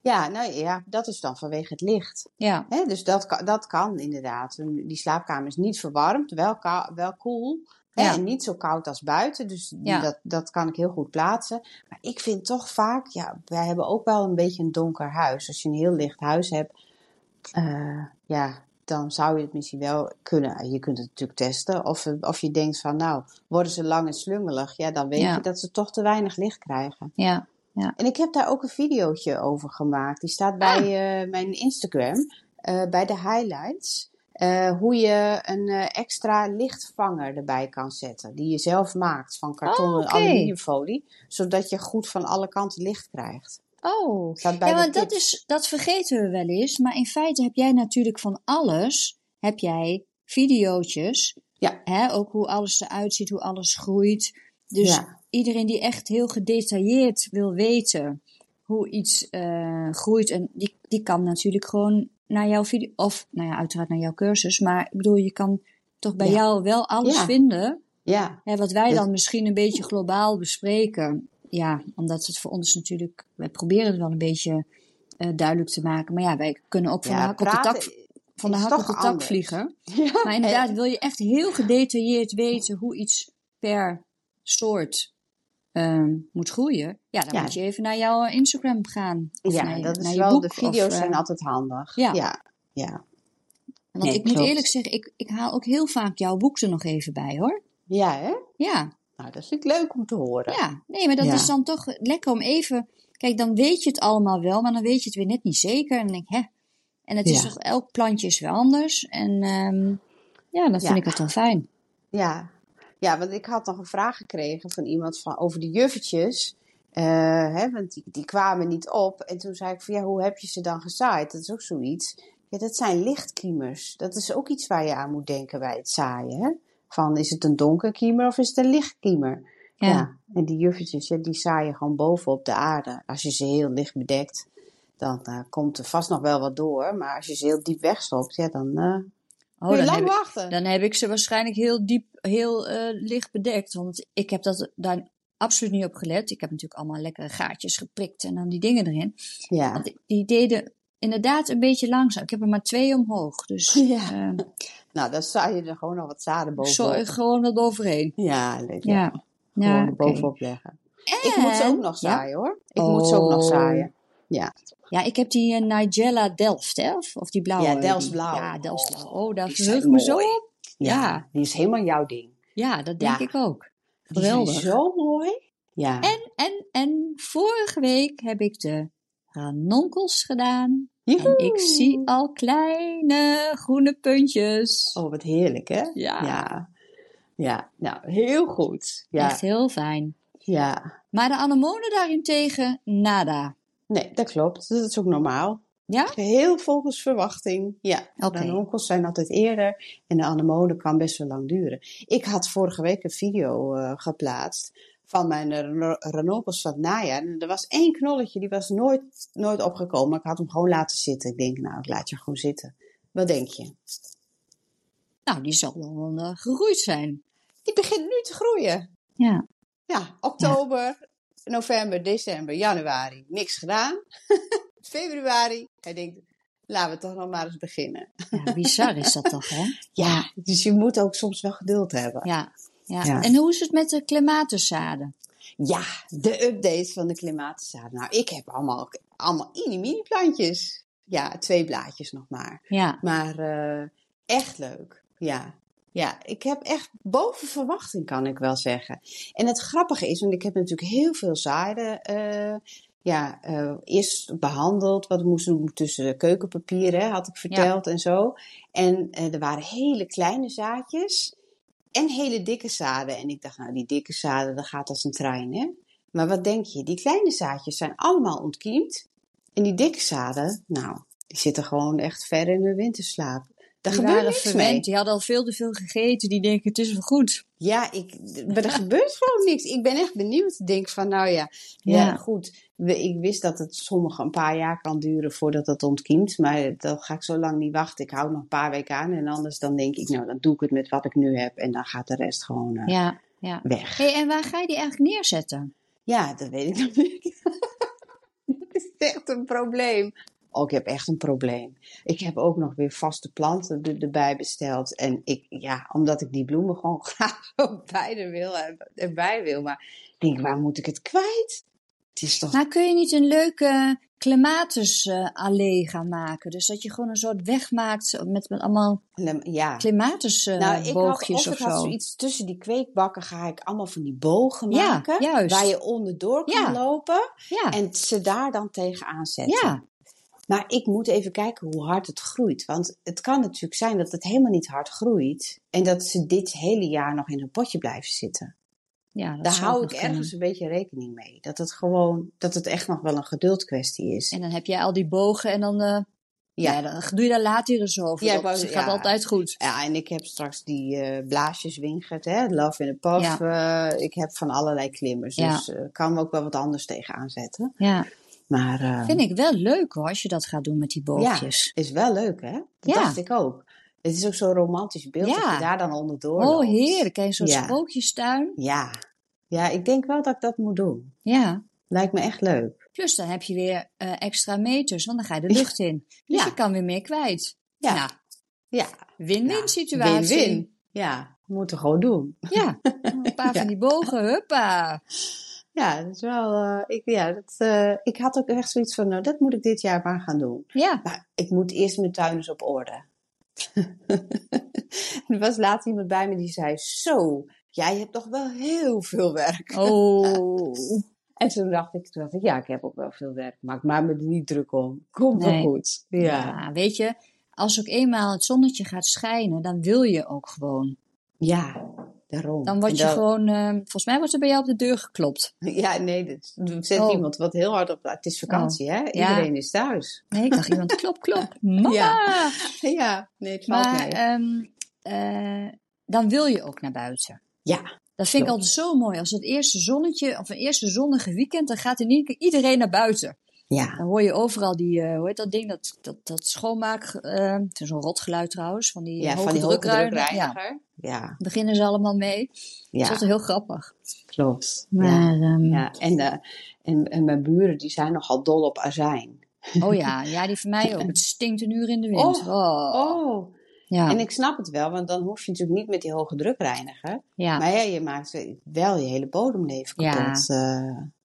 S2: ja, nou ja, dat is dan vanwege het licht.
S1: Ja,
S2: Hè, dus dat, kan- dat kan inderdaad. Een- Die slaapkamer is niet verwarmd, wel, kou- wel koel. Hè,
S1: Ja.
S2: En niet zo koud als buiten. Dus
S1: Ja.
S2: dat, dat kan ik heel goed plaatsen. Maar ik vind toch vaak, ja, wij hebben ook wel een beetje een donker huis. Als je een heel licht huis hebt, eh, ja, dan zou je het misschien wel kunnen. Je kunt het natuurlijk testen. Of, eh, of je denkt van, nou, worden ze lang en slungelig? Ja, dan weet
S1: Ja.
S2: je dat ze toch te weinig licht krijgen.
S1: ja.
S2: En ik heb daar ook een videootje over gemaakt. Die staat
S1: Ah.
S2: bij eh, mijn Instagram, eh, bij de highlights. eh, hoe je een eh, extra lichtvanger erbij kan zetten. Die je zelf maakt van karton
S1: Oh,
S2: en
S1: oké.
S2: aluminiumfolie. Zodat je goed van alle kanten licht krijgt.
S1: Oh.
S2: Staat bij
S1: Ja,
S2: de
S1: want dat,
S2: tips.
S1: is, dat vergeten we wel eens. Maar in feite heb jij natuurlijk van alles, heb jij videootjes.
S2: Ja.
S1: Hè, ook hoe alles eruit ziet, hoe alles groeit. Dus
S2: Ja.
S1: iedereen die echt heel gedetailleerd wil weten hoe iets eh, groeit, en die, die kan natuurlijk gewoon naar jouw video, of nou ja, uiteraard naar jouw cursus, maar ik bedoel, je kan toch bij
S2: Ja.
S1: jou wel alles
S2: Ja.
S1: vinden.
S2: Ja,
S1: Hè, wat wij
S2: Dus-
S1: dan misschien een beetje globaal bespreken. Ja, omdat het voor ons natuurlijk, wij proberen het wel een beetje eh, duidelijk te maken. Maar ja, wij kunnen ook van de
S2: ja,
S1: hak op de tak, van de,
S2: is
S1: hak op
S2: toch
S1: de tak
S2: anders.
S1: vliegen.
S2: Ja.
S1: Maar inderdaad, wil je echt heel gedetailleerd weten hoe iets per soort ehm, moet groeien, ja, dan
S2: Ja.
S1: moet je even naar jouw Instagram gaan. Of
S2: ja,
S1: naar, je-
S2: dat is
S1: naar je
S2: wel,
S1: boek,
S2: de video's
S1: of, eh,
S2: zijn altijd handig.
S1: ja.
S2: ja. ja.
S1: Want
S2: Nee,
S1: ik moet
S2: klopt.
S1: eerlijk zeggen, ik, ik haal ook heel vaak jouw boek er nog even bij hoor.
S2: Ja, hè?
S1: Ja,
S2: Nou, dat vind ik leuk om te horen.
S1: ja. Nee, maar dat
S2: Ja.
S1: is dan toch lekker om even. Kijk, dan weet je het allemaal wel, maar dan weet je het weer net niet zeker. En dan denk ik, hè. En het is
S2: Ja.
S1: toch, elk plantje is weer anders. En ehm, ja, dat
S2: Ja.
S1: vind ik het wel fijn.
S2: Ja. ja, want ik had nog een vraag gekregen van iemand van, over de juffertjes. Eh, hè, want die, die kwamen niet op. En toen zei ik van ja, hoe heb je ze dan gezaaid? Dat is ook zoiets. Ja, dat zijn lichtkiemers. Dat is ook iets waar je aan moet denken bij het zaaien. Hè? Van is het een donker kiemer of is het een lichtkiemer?
S1: Ja.
S2: En die juffertjes, ja, die zaaien gewoon bovenop de aarde. Als je ze heel licht bedekt, dan eh, komt er vast nog wel wat door. Maar als je ze heel diep wegstopt, ja, dan eh
S1: Oh,
S2: moet
S1: dan,
S2: je lang
S1: heb ik,
S2: wachten.
S1: dan heb ik ze waarschijnlijk heel diep, heel eh, licht bedekt. Want ik heb dat daar absoluut niet op gelet. Ik heb natuurlijk allemaal lekkere gaatjes geprikt en dan die dingen erin.
S2: Ja.
S1: Want die deden inderdaad een beetje langzaam. Ik heb er maar twee omhoog. Dus
S2: Ja.
S1: eh,
S2: Nou, dan zaai je er gewoon nog wat zaden bovenop.
S1: zo, gewoon wat overheen.
S2: Ja, leuk. Ja.
S1: Ja.
S2: Gewoon
S1: Ja,
S2: er
S1: oké.
S2: bovenop leggen. Ik moet ze ook nog
S1: Ja.
S2: zaaien hoor. Ik moet ze ook nog
S1: Oh.
S2: zaaien.
S1: Ja, ik heb die eh, Nigella Delft, hè? Of, of die blauwe.
S2: Ja,
S1: die-
S2: Delftsblauw.
S1: Ja, Delftsblauw. Oh, daar
S2: die
S1: verheug ik
S2: zijn
S1: me zo
S2: mooi.
S1: op. Ja.
S2: Die is helemaal jouw ding.
S1: Ja, dat denk
S2: Ja.
S1: ik ook.
S2: Die zijn
S1: Geweldig.
S2: zo mooi. Ja.
S1: En, en, en vorige week heb ik de ranonkels gedaan.
S2: Joehoe.
S1: En ik zie al kleine groene puntjes.
S2: Oh, wat heerlijk hè?
S1: ja,
S2: Ja. Ja. Nou, heel goed. Ja.
S1: echt heel fijn.
S2: Ja.
S1: Maar de anemonen daarentegen, nada.
S2: Nee, dat klopt. Dat is ook normaal.
S1: Ja?
S2: Heel volgens verwachting. Ja.
S1: Oké.
S2: De onkels zijn altijd eerder en de anemonen kan best wel lang duren. Ik had vorige week een video eh, geplaatst van mijn rano- ranonkels van het najaar. En er was één knolletje, die was nooit, nooit opgekomen. Maar ik had hem gewoon laten zitten. Ik denk, nou, ik laat je gewoon zitten. Wat denk je?
S1: Nou, die zal wel eh, gegroeid zijn.
S2: Die begint nu te groeien.
S1: Ja.
S2: Ja, oktober, november, december, januari. Niks gedaan. Februari. Hij denkt, laten we toch nog maar eens beginnen.
S1: ja, bizar is dat toch, hè?
S2: Ja, dus je moet ook soms wel geduld hebben.
S1: Ja, ja.
S2: Ja.
S1: En hoe is het met de clematiszaden?
S2: Ja, de update van de klimaatzaad. Nou, ik heb allemaal, allemaal mini-mini plantjes. Ja, twee blaadjes nog maar.
S1: Ja,
S2: Maar eh, echt leuk. Ja. ja, ik heb echt boven verwachting, kan ik wel zeggen. En het grappige is, want ik heb natuurlijk heel veel zaaiden eh, ja, eh, eerst behandeld. Wat ik moest doen tussen de keukenpapier, hè, had ik verteld en zo. En eh, er waren hele kleine zaadjes en hele dikke zaden. En ik dacht, nou, die dikke zaden, dat gaat als een trein, hè? Maar wat denk je? Die kleine zaadjes zijn allemaal ontkiemd. En die dikke zaden, nou, die zitten gewoon echt ver in hun winterslaap.
S1: die
S2: Daar gebeurt
S1: waren
S2: niks
S1: verwend.
S2: mee.
S1: Die hadden al veel te veel gegeten. Die denken, het is wel goed.
S2: Ja, ik, maar er gebeurt gewoon niks. Ik ben echt benieuwd. Ik denk van, nou ja, ja,
S1: Ja.
S2: goed. We- Ik wist dat het sommige een paar jaar kan duren voordat het ontkiemt. Maar dat ga ik zo lang niet wachten. Ik hou nog een paar weken aan. En anders dan denk ik, nou, dan doe ik het met wat ik nu heb. En dan gaat de rest gewoon eh,
S1: Ja, ja.
S2: weg.
S1: Hey, en waar ga je die eigenlijk neerzetten?
S2: Ja, dat weet ik nog niet. dat is echt een probleem. Oh, ik heb echt een probleem. Ik heb ook nog weer vaste planten er- erbij besteld. En ik, ja, omdat ik die bloemen gewoon graag ook bij de wil hebben, erbij wil. Maar ik denk, waar moet ik het kwijt? Het is toch...
S1: Maar Nou, kun je niet een leuke clematis-allee gaan maken? Dus dat je gewoon een soort weg maakt met, met allemaal
S2: Ja. Nou, ik had,
S1: clematis-boogjes
S2: of ik
S1: eh, of
S2: had
S1: zo.
S2: zoiets tussen die kweekbakken ga ik allemaal van die bogen
S1: Ja,
S2: maken.
S1: juist.
S2: Waar je onderdoor kan
S1: Ja.
S2: lopen.
S1: Ja,
S2: En ze daar dan tegenaan zetten.
S1: ja.
S2: Maar ik moet even kijken hoe hard het groeit. Want het kan natuurlijk zijn dat het helemaal niet hard groeit. En dat ze dit hele jaar nog in hun potje blijven zitten.
S1: ja dat
S2: Daar
S1: zou
S2: hou
S1: ook
S2: ik
S1: nog kunnen.
S2: ergens een beetje rekening mee. Dat het gewoon, dat het echt nog wel een geduldkwestie is.
S1: En dan heb jij al die bogen en dan, eh, ja. dan doe je daar later eens over.
S2: Ja,
S1: dat
S2: wou-
S1: gaat
S2: ja.
S1: altijd goed.
S2: Ja, en ik heb straks die eh, blaasjes wingerd, hè, Love in a Puff. eh, ik heb van allerlei klimmers,
S1: Ja.
S2: dus eh, kan me ook wel wat anders tegenaan zetten.
S1: Ja,
S2: Maar eh,
S1: Vind ik wel leuk hoor, als je dat gaat doen met die boogjes.
S2: is wel leuk, hè?
S1: Ja.
S2: Dat dacht ik ook. Het is ook zo'n romantisch beeld dat
S1: Ja.
S2: je daar dan onderdoor
S1: oh,
S2: loopt.
S1: heerlijk. En zo'n
S2: Ja.
S1: sprookjestuin.
S2: Ja. ja, ik denk wel dat ik dat moet doen.
S1: Ja.
S2: Lijkt me echt leuk.
S1: Plus dan heb je weer eh, extra meters, want dan ga je de lucht in. Dus
S2: Ja.
S1: je kan weer meer kwijt.
S2: Ja.
S1: Nou,
S2: Ja,
S1: win-win
S2: Nou,
S1: situatie.
S2: win-win. ja. We moeten gewoon doen.
S1: Ja, een paar
S2: Ja.
S1: van die bogen, huppa.
S2: Ja, dat is wel. eh, ik, ja, dat, eh, ik had ook echt zoiets van, nou, dat moet ik dit jaar maar gaan doen.
S1: Ja,
S2: Maar ik moet eerst mijn tuin eens op orde. er was laatst iemand bij me die zei: Zo, jij hebt toch wel heel veel werk.
S1: oh.
S2: En toen dacht ik, toen dacht ik, ja, ik heb ook wel veel werk. Maar ik maak me er niet druk om. Komt wel
S1: Nee.
S2: goed. Ja. ja.
S1: Ja, weet je, als ook eenmaal het zonnetje gaat schijnen, dan wil je ook gewoon.
S2: daarom.
S1: Dan word
S2: En
S1: je
S2: dat-
S1: gewoon, eh, volgens mij wordt er bij jou op de deur geklopt.
S2: Ja, nee, dat dat zet
S1: Oh.
S2: iemand wat heel hard op. nou, Het is vakantie, hè?
S1: Ja.
S2: Iedereen is thuis.
S1: Nee, ik dacht iemand, klop, klop, mama.
S2: Ja. Ja, nee, het valt
S1: Maar
S2: mee.
S1: ehm, eh, dan wil je ook naar buiten.
S2: ja,
S1: Dat vind ik
S2: Klopt.
S1: altijd zo mooi. Als het eerste zonnetje of een eerste zonnige weekend, dan gaat in ieder keer iedereen naar buiten.
S2: ja.
S1: Dan hoor je overal die, eh hoe heet dat ding, dat, dat, dat schoonmaak, eh, het is een rotgeluid trouwens, van die
S2: Ja,
S1: hoge
S2: van die hoge
S1: drukruim. Ja,
S2: drukreiniger. Ja,
S1: beginnen ze allemaal mee. Dat is
S2: ja,
S1: altijd heel grappig.
S2: klopt. Ja.
S1: Maar, ehm,
S2: Ja, en, eh, en, en mijn buren die zijn nogal dol op azijn.
S1: oh ja, ja, die van mij ook. Het stinkt een uur in de wind.
S2: Oh,
S1: Oh,
S2: Oh,
S1: Ja,
S2: en ik snap het wel, want dan hoef je natuurlijk niet met die hoge drukreiniger.
S1: ja.
S2: Maar ja, je maakt wel je hele bodemleven
S1: Ja.
S2: kapot. eh,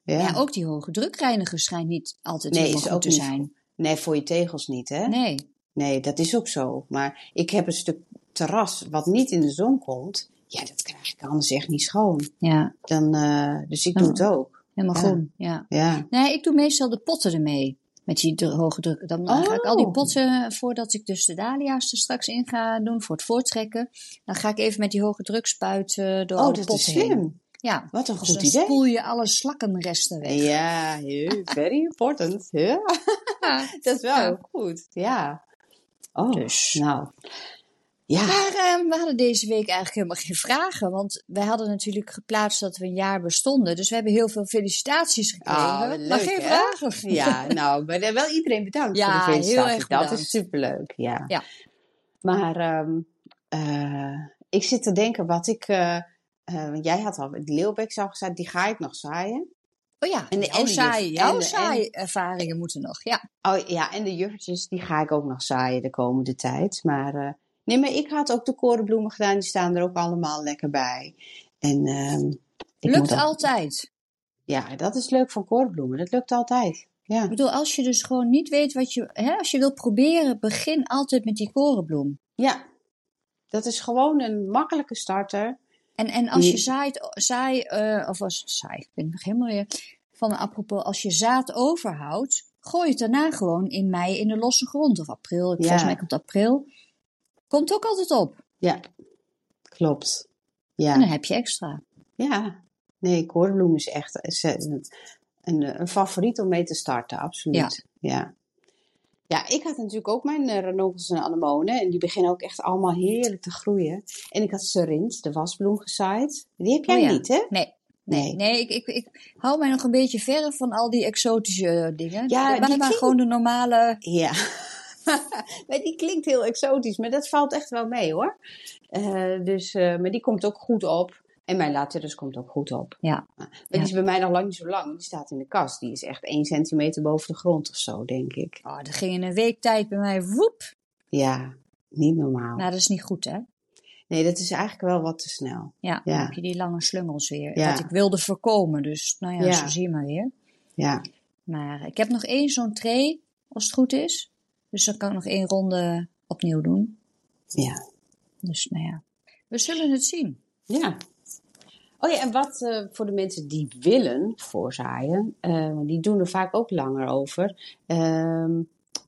S2: ja.
S1: ja, ook die hoge drukreiniger schijnt niet altijd
S2: Nee,
S1: helemaal
S2: is
S1: goed
S2: ook
S1: te
S2: niet
S1: zijn.
S2: Nee, voor je tegels niet, hè? Nee.
S1: Nee,
S2: dat is ook zo. Maar ik heb een stuk terras wat niet in de zon komt. Ja, dat krijg ik anders echt niet schoon.
S1: ja,
S2: Dan, eh, dus ik doe het ook.
S1: helemaal
S2: Ja.
S1: groen. Ja.
S2: Ja,
S1: Nee, Ah. ik doe meestal de potten ermee. Met die dru- hoge druk. Dan eh, ga ik al die
S2: Oh.
S1: potten, voordat ik dus de dahlia's er straks in ga doen, voor het voortrekken. Dan ga ik even met die hoge drukspuit eh door
S2: oh,
S1: alle
S2: dat
S1: potten
S2: is
S1: heen.
S2: slim.
S1: Ja,
S2: Wat een
S1: dus
S2: goed
S1: dan
S2: idee.
S1: spoel je alle slakkenresten weg.
S2: Ja, heel- very important. hè?
S1: Ja.
S2: Dat is wel
S1: Ja.
S2: heel goed, ja. Oh,
S1: Dus.
S2: nou. Ja,
S1: Maar eh, we hadden deze week eigenlijk helemaal geen vragen. Want wij hadden natuurlijk geplaatst dat we een jaar bestonden. Dus we hebben heel veel felicitaties gekregen.
S2: Ah, wat
S1: maar
S2: leuk,
S1: geen
S2: hè?
S1: vragen.
S2: ja nou, maar wel iedereen bedankt
S1: Ja,
S2: voor de
S1: heel erg
S2: felicitatie. dat
S1: bedankt.
S2: is superleuk, ja.
S1: Ja.
S2: Maar ehm, eh, ik zit te denken wat ik... eh, eh, want jij had al de leeuwbek al gezaaid, die ga ik nog zaaien.
S1: Oh ja,
S2: En
S1: en
S2: de-
S1: de, jouw
S2: en de-
S1: saaie,
S2: en
S1: jouw
S2: de-
S1: saaie ervaringen moeten nog. Ja.
S2: Oh ja, en de juffertjes, die ga ik ook nog zaaien de komende tijd. Maar eh, nee, maar ik had ook de korenbloemen gedaan, die staan er ook allemaal lekker bij. En ehm, ik moet
S1: Lukt
S2: ook-
S1: altijd.
S2: Ja, dat is leuk van korenbloemen. Dat lukt altijd.
S1: Ik
S2: Ja,
S1: bedoel, als je dus gewoon niet weet wat je... Hè, als je wilt proberen, begin altijd met die korenbloem.
S2: ja. dat is gewoon een makkelijke starter.
S1: En, en als je
S2: Ja.
S1: zaait, zaai, eh, of als saai, ik ben nog helemaal weer van mijn apropos. Als je zaad overhoudt, gooi het daarna gewoon in mei in de losse grond. Of april, ik-
S2: Ja.
S1: volgens mij komt april. Komt ook altijd op.
S2: Ja, klopt.
S1: En
S2: Ja,
S1: dan heb je extra.
S2: ja. Nee, korenbloem is echt is eh, een, een, een favoriet om mee te starten, absoluut. Ja. ja. ik had natuurlijk ook mijn uh, ranonkels en anemonen. En die beginnen ook echt allemaal heerlijk te groeien. En ik had serint, de wasbloem, gezaaid. Die heb jij
S1: Oh ja.
S2: niet, hè?
S1: Nee. Nee,
S2: Nee.
S1: nee ik, ik, ik hou mij nog een beetje verre van al die exotische eh, dingen.
S2: Ja,
S1: Ja, maar
S2: die
S1: maar
S2: klinkt-
S1: gewoon de normale.
S2: Ja. maar die klinkt heel exotisch, maar dat valt echt wel mee hoor. Eh, dus, eh, maar die komt ook goed op. En mijn laterus komt ook goed op.
S1: Ja.
S2: Maar die is bij mij nog lang niet zo lang. want Die staat in de kast. Die is echt 1 centimeter boven de grond of zo, denk ik.
S1: Oh, dat ging in een week tijd bij mij woep.
S2: Ja, niet normaal.
S1: Nou, dat is niet goed, hè?
S2: Nee, dat is eigenlijk wel wat te snel.
S1: Ja, dan
S2: Ja.
S1: heb je die lange slungels weer.
S2: Ja.
S1: Wat ik wilde voorkomen, dus nou ja,
S2: Ja.
S1: zo zie je maar weer.
S2: Ja,
S1: Maar eh, ik heb nog één zo'n tray, als het goed is. Dus dan kan ik nog één ronde opnieuw doen.
S2: ja.
S1: Dus nou ja, we zullen het zien.
S2: Ja. Oh ja, en wat eh, voor de mensen die willen voorzaaien, eh, die doen er vaak ook langer over. Ehm,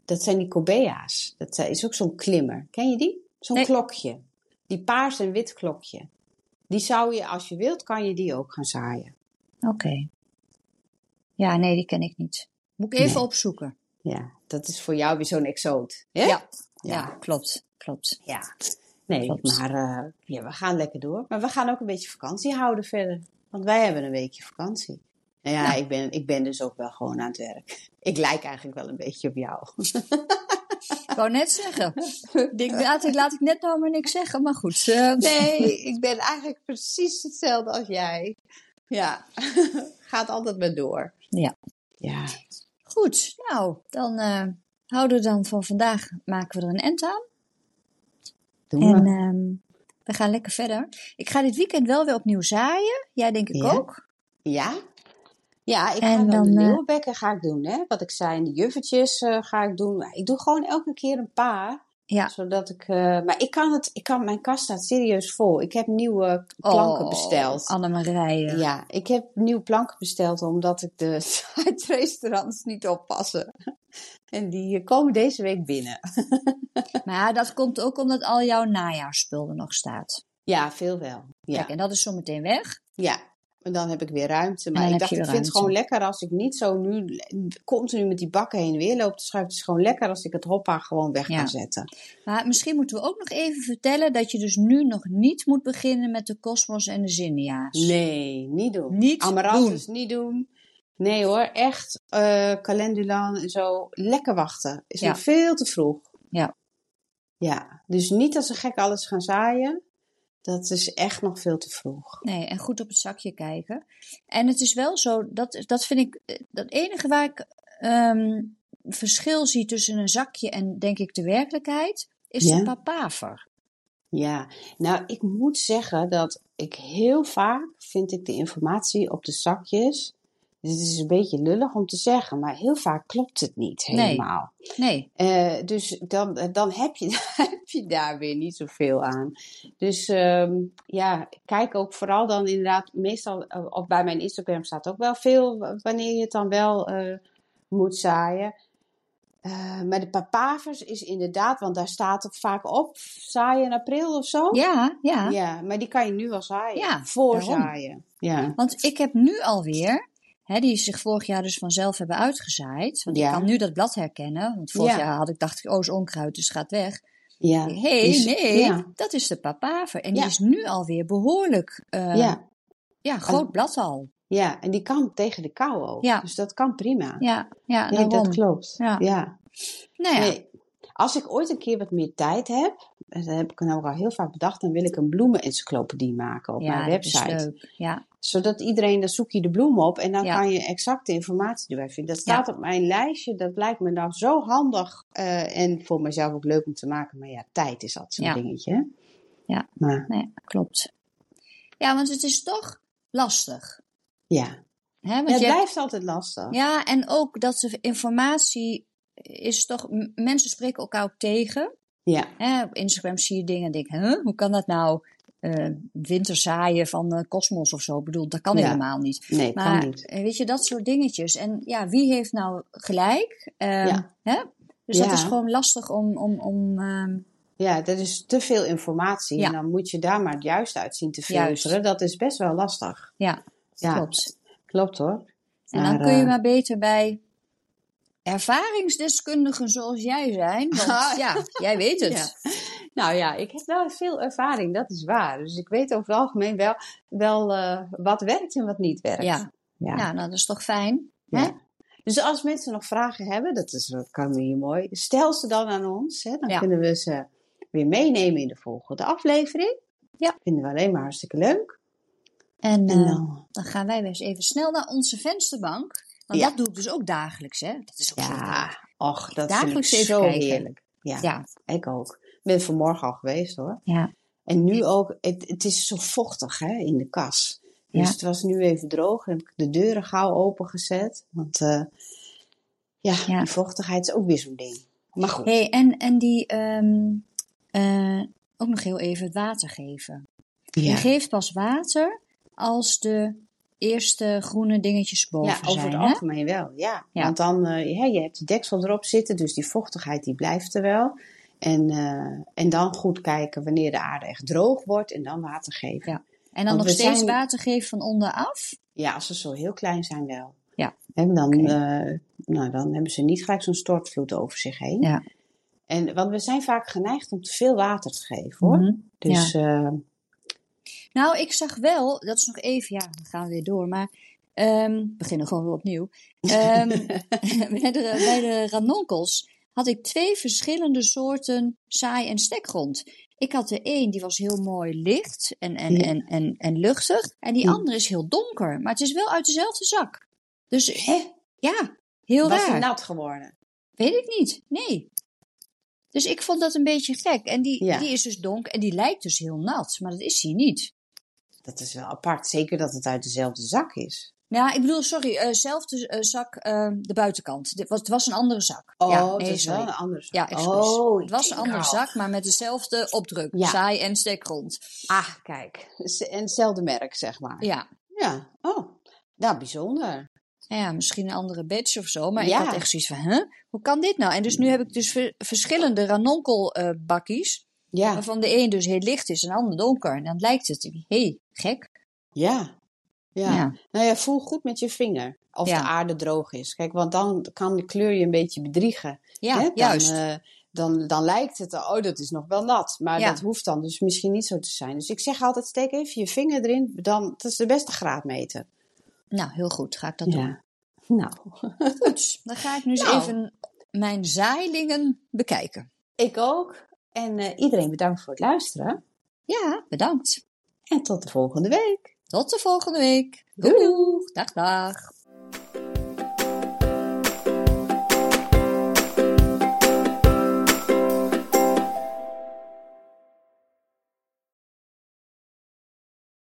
S2: dat zijn die Cobea's. Dat eh, is ook zo'n klimmer. Ken je die? Zo'n
S1: Nee.
S2: klokje. Die paars en wit klokje. Die zou je, als je wilt, kan je die ook gaan zaaien.
S1: Oké. Ja, nee, die ken ik niet. Moet ik even
S2: Nee.
S1: opzoeken.
S2: Ja, dat is voor jou weer zo'n exoot. Hè?
S1: Ja. Ja.
S2: Ja.
S1: klopt. Klopt.
S2: Ja. Nee,
S1: Klopt.
S2: maar eh, ja, we gaan lekker door. Maar we gaan ook een beetje vakantie houden verder. Want wij hebben een weekje vakantie. Nou ja, ik, ben, ik ben dus ook wel gewoon aan het werk. Ik lijk eigenlijk wel een beetje op jou.
S1: Ik wou net zeggen. Ik denk, laat ik, laat ik net nou maar niks zeggen, maar goed. eh,
S2: Nee, ik ben eigenlijk precies hetzelfde als jij. Ja, gaat altijd maar door.
S1: Ja.
S2: Ja,
S1: Goed, nou, dan eh, houden we dan van vandaag, maken we er een end aan.
S2: doen we.
S1: En ehm, we gaan lekker verder. Ik ga dit weekend wel weer opnieuw zaaien. Jij denk ik
S2: Ja.
S1: ook.
S2: Ja? Ja, ik
S1: En
S2: ga dan,
S1: dan,
S2: de
S1: eh,
S2: leeuwbekken ga ik doen, hè. Wat ik zei, en de juffertjes eh, ga ik doen. Ik doe gewoon elke keer een paar.
S1: Ja.
S2: Zodat ik... eh, maar ik kan het... Ik kan, mijn kast staat serieus vol. Ik heb nieuwe planken besteld.
S1: Oh, Annemarije.
S2: Ja, ik heb nieuwe planken besteld omdat ik de site-restaurants niet oppassen. En die eh, komen deze week binnen.
S1: Maar dat komt ook omdat al jouw najaarspul er nog staat.
S2: Ja, veel wel. Ja,
S1: Kijk, en dat is zometeen weg.
S2: ja. En dan heb ik weer ruimte.
S1: dan
S2: Maar ik
S1: heb
S2: dacht,
S1: je
S2: ik
S1: weer
S2: vind het
S1: ruimte.
S2: gewoon lekker als ik niet zo nu le- continu met die bakken heen en weer loop te schuiven. Het is gewoon lekker als ik het hoppa gewoon weg
S1: Ja.
S2: kan zetten.
S1: Maar misschien moeten we ook nog even vertellen dat je dus nu nog niet moet beginnen met de kosmos en de zinnia's.
S2: Nee, niet doen.
S1: Niet
S2: Amaranthus niet doen. Nee hoor, echt eh calendulaan en zo. Lekker wachten. Is
S1: Ja.
S2: nog veel te vroeg.
S1: Ja.
S2: Ja, dus niet als ze gek alles gaan zaaien. Dat is echt nog veel te vroeg.
S1: Nee, en goed op het zakje kijken. En het is wel zo, dat, dat vind ik eh, dat enige waar ik ehm, verschil zie tussen een zakje en denk ik de werkelijkheid, is
S2: Ja.
S1: de papaver.
S2: Ja, nou ik moet zeggen dat ik heel vaak vind ik de informatie op de zakjes. Dit is een beetje lullig om te zeggen, maar heel vaak klopt het niet
S1: Nee.
S2: helemaal.
S1: Nee,
S2: Eh, dus dan, dan heb, je, heb je daar weer niet zoveel aan. Dus ehm, ja, kijk ook vooral dan inderdaad, meestal, eh, of bij mijn Instagram staat ook wel veel w- wanneer je het dan wel eh, moet zaaien. Eh, maar de papavers is inderdaad, want daar staat ook vaak op, zaaien in april of zo.
S1: ja, ja.
S2: Oh. Ja, maar die kan je nu al zaaien.
S1: Ja,
S2: voorzaaien. Ja.
S1: Want ik heb nu alweer, hè, die zich vorig jaar dus vanzelf hebben uitgezaaid. Want
S2: Ja.
S1: ik kan nu dat blad herkennen. Want vorig
S2: Ja.
S1: jaar had ik, dacht ik, oh, is onkruid, dus gaat weg.
S2: ja.
S1: Hé, hey,
S2: Die is-
S1: nee,
S2: Ja.
S1: dat is de papaver. En die
S2: Ja.
S1: is nu alweer behoorlijk, eh, ja.
S2: ja.
S1: groot blad al.
S2: ja, en die kan tegen de kou ook.
S1: Ja.
S2: Dus dat kan prima.
S1: Ja, ja,
S2: Nee,
S1: daarom.
S2: dat klopt.
S1: Ja.
S2: ja.
S1: Nou ja,
S2: Nee, als ik ooit een keer wat meer tijd heb, en dat heb ik nou al heel vaak bedacht, dan wil ik een bloemenencyclopedie maken op
S1: ja,
S2: mijn
S1: dat is
S2: website.
S1: leuk. Ja,
S2: Zodat iedereen, dan zoek je de bloemen op en dan
S1: Ja.
S2: kan je exacte informatie erbij vinden. Dat staat op mijn lijstje, dat lijkt me nou zo handig eh, en voor mezelf ook leuk om te maken. Maar ja, tijd is altijd zo'n
S1: Ja.
S2: dingetje. hè?
S1: Ja.
S2: Maar
S1: nee, klopt. Ja, want het is toch lastig.
S2: ja,
S1: Hè? Want
S2: het
S1: je hebt-
S2: blijft altijd lastig.
S1: ja, en ook dat de informatie is toch... m- Mensen spreken elkaar ook tegen.
S2: Ja,
S1: Hè? Op Instagram zie je dingen en denk huh? hoe kan dat nou? Eh winterzaaien van eh, Cosmos of zo. Ik bedoel, dat kan
S2: Ja.
S1: helemaal niet.
S2: nee,
S1: Maar
S2: kan niet.
S1: eh, weet je, dat soort dingetjes. En ja, wie heeft nou gelijk? Ehm,
S2: Ja.
S1: hè? Dus dat
S2: Ja.
S1: is gewoon lastig om... om, om ehm,
S2: Ja, dat is te veel informatie
S1: Ja.
S2: en dan moet je daar maar juist uit zien te
S1: Juist.
S2: filteren. Dat is best wel lastig.
S1: ja,
S2: Ja.
S1: klopt.
S2: Klopt hoor.
S1: En
S2: Maar,
S1: dan kun je
S2: eh,
S1: maar beter bij ervaringsdeskundigen zoals jij zijn. Want
S2: Ah.
S1: ja, jij weet het.
S2: Ja. Nou ja, ik heb wel veel ervaring, dat is waar. Dus ik weet over het algemeen wel, wel eh, wat werkt en wat niet werkt.
S1: Ja.
S2: Ja.
S1: Ja. nou, dat is toch fijn?
S2: Ja.
S1: Hè?
S2: Dus als mensen nog vragen hebben, dat, is, dat kan we hier mooi, stel ze dan aan ons. Hè? Dan
S1: Ja.
S2: kunnen we ze weer meenemen in de volgende aflevering.
S1: Ja.
S2: Vinden we alleen maar hartstikke leuk.
S1: En
S2: En
S1: eh,
S2: dan,
S1: dan gaan wij weer eens even snel naar onze vensterbank. Want
S2: Ja.
S1: dat doe ik dus ook dagelijks, hè? Dat is ook zo
S2: ja,
S1: leuk.
S2: och, dat
S1: Dagelijks
S2: vind ik
S1: even
S2: zo
S1: kijken.
S2: heerlijk. Ja,
S1: Ja,
S2: ik ook. Ik ben vanmorgen al geweest hoor.
S1: ja,
S2: En nu ook, het, het is zo vochtig hè, in de kas. Dus
S1: Ja.
S2: het was nu even droog. Dan heb ik de deuren gauw opengezet. Want eh, ja,
S1: Ja.
S2: die vochtigheid is ook weer zo'n ding. Maar goed.
S1: hey, en, en die ehm, eh, ook nog heel even het water geven. Je
S2: ja.
S1: geeft pas water als de eerste groene dingetjes boven
S2: Ja, over
S1: zijn,
S2: het
S1: hè?
S2: algemeen wel, ja.
S1: Ja.
S2: Want dan, eh, hè, je hebt die deksel erop zitten, dus die vochtigheid die blijft er wel. En, eh, en dan goed kijken wanneer de aarde echt droog wordt en dan water geven.
S1: Ja. En dan
S2: Want
S1: nog
S2: we
S1: steeds
S2: zijn-
S1: water geven van onderaf?
S2: Ja, als ze zo heel klein zijn wel.
S1: Ja.
S2: Hè, dan,
S1: Oké.
S2: eh, nou, dan hebben ze niet gelijk zo'n stortvloed over zich heen.
S1: Ja.
S2: En, want we zijn vaak geneigd om te veel water te geven hoor.
S1: Mhm.
S2: Dus eh,
S1: Nou, ik zag wel, dat is nog even, ja, we gaan weer door, maar Ehm, we beginnen gewoon weer opnieuw. Ehm, bij, de, bij de ranonkels had ik twee verschillende soorten saai en stekgrond. Ik had de een die was heel mooi licht en, en,
S2: Ja.
S1: en, en, en luchtig. En die
S2: Ja.
S1: andere is heel donker. Maar het is wel uit dezelfde zak. Dus
S2: Hè?
S1: ja, heel
S2: Was nou- hij
S1: raar.
S2: nat geworden?
S1: Weet ik niet. Nee. Dus ik vond dat een beetje gek. En die,
S2: Ja.
S1: die is dus donker en die lijkt dus heel nat. Maar dat is hij niet.
S2: Dat is wel apart. Zeker dat het uit dezelfde zak is.
S1: Ja, ik bedoel, sorry, eh zelfde eh, zak, eh, de buitenkant. Dit was, het was een andere zak.
S2: Oh,
S1: ja,
S2: het
S1: nee,
S2: is wel
S1: sorry.
S2: een andere zak.
S1: Ja, excuus.
S2: oh,
S1: het was een
S2: ik
S1: andere
S2: denk al.
S1: zak, maar met dezelfde opdruk.
S2: Ja.
S1: Saai en stekgrond.
S2: Ah, kijk. Z- En hetzelfde merk, zeg maar.
S1: Ja.
S2: Ja. Oh, nou, bijzonder.
S1: Nou ja, misschien een andere badge of zo. Maar
S2: Ja.
S1: ik had echt zoiets van, hè? Hoe kan dit nou? En dus nu heb ik dus ver- verschillende ranonkelbakjes.
S2: Ja,
S1: waarvan de een dus heel licht is en de ander donker. En dan lijkt het, hé, hey, gek.
S2: ja. Ja.
S1: Ja.
S2: Nou ja, voel goed met je vinger of
S1: Ja.
S2: de aarde droog is. Kijk, want dan kan de kleur je een beetje bedriegen.
S1: Ja,
S2: hè? Dan,
S1: juist.
S2: eh, dan, dan lijkt het, oh, dat is nog wel nat. Maar
S1: Ja.
S2: dat hoeft dan dus misschien niet zo te zijn. Dus ik zeg altijd, steek even je vinger erin. Dan, dat is de beste graadmeter.
S1: Nou, heel goed, ga ik dat doen.
S2: Nou,
S1: Goed, dan ga ik nu eens
S2: Nou.
S1: even mijn zaailingen bekijken.
S2: ik ook. En eh, iedereen bedankt voor het luisteren.
S1: Ja, bedankt.
S2: En tot de volgende week.
S1: Tot de volgende week.
S2: Doei! doei.
S1: Dag, dag.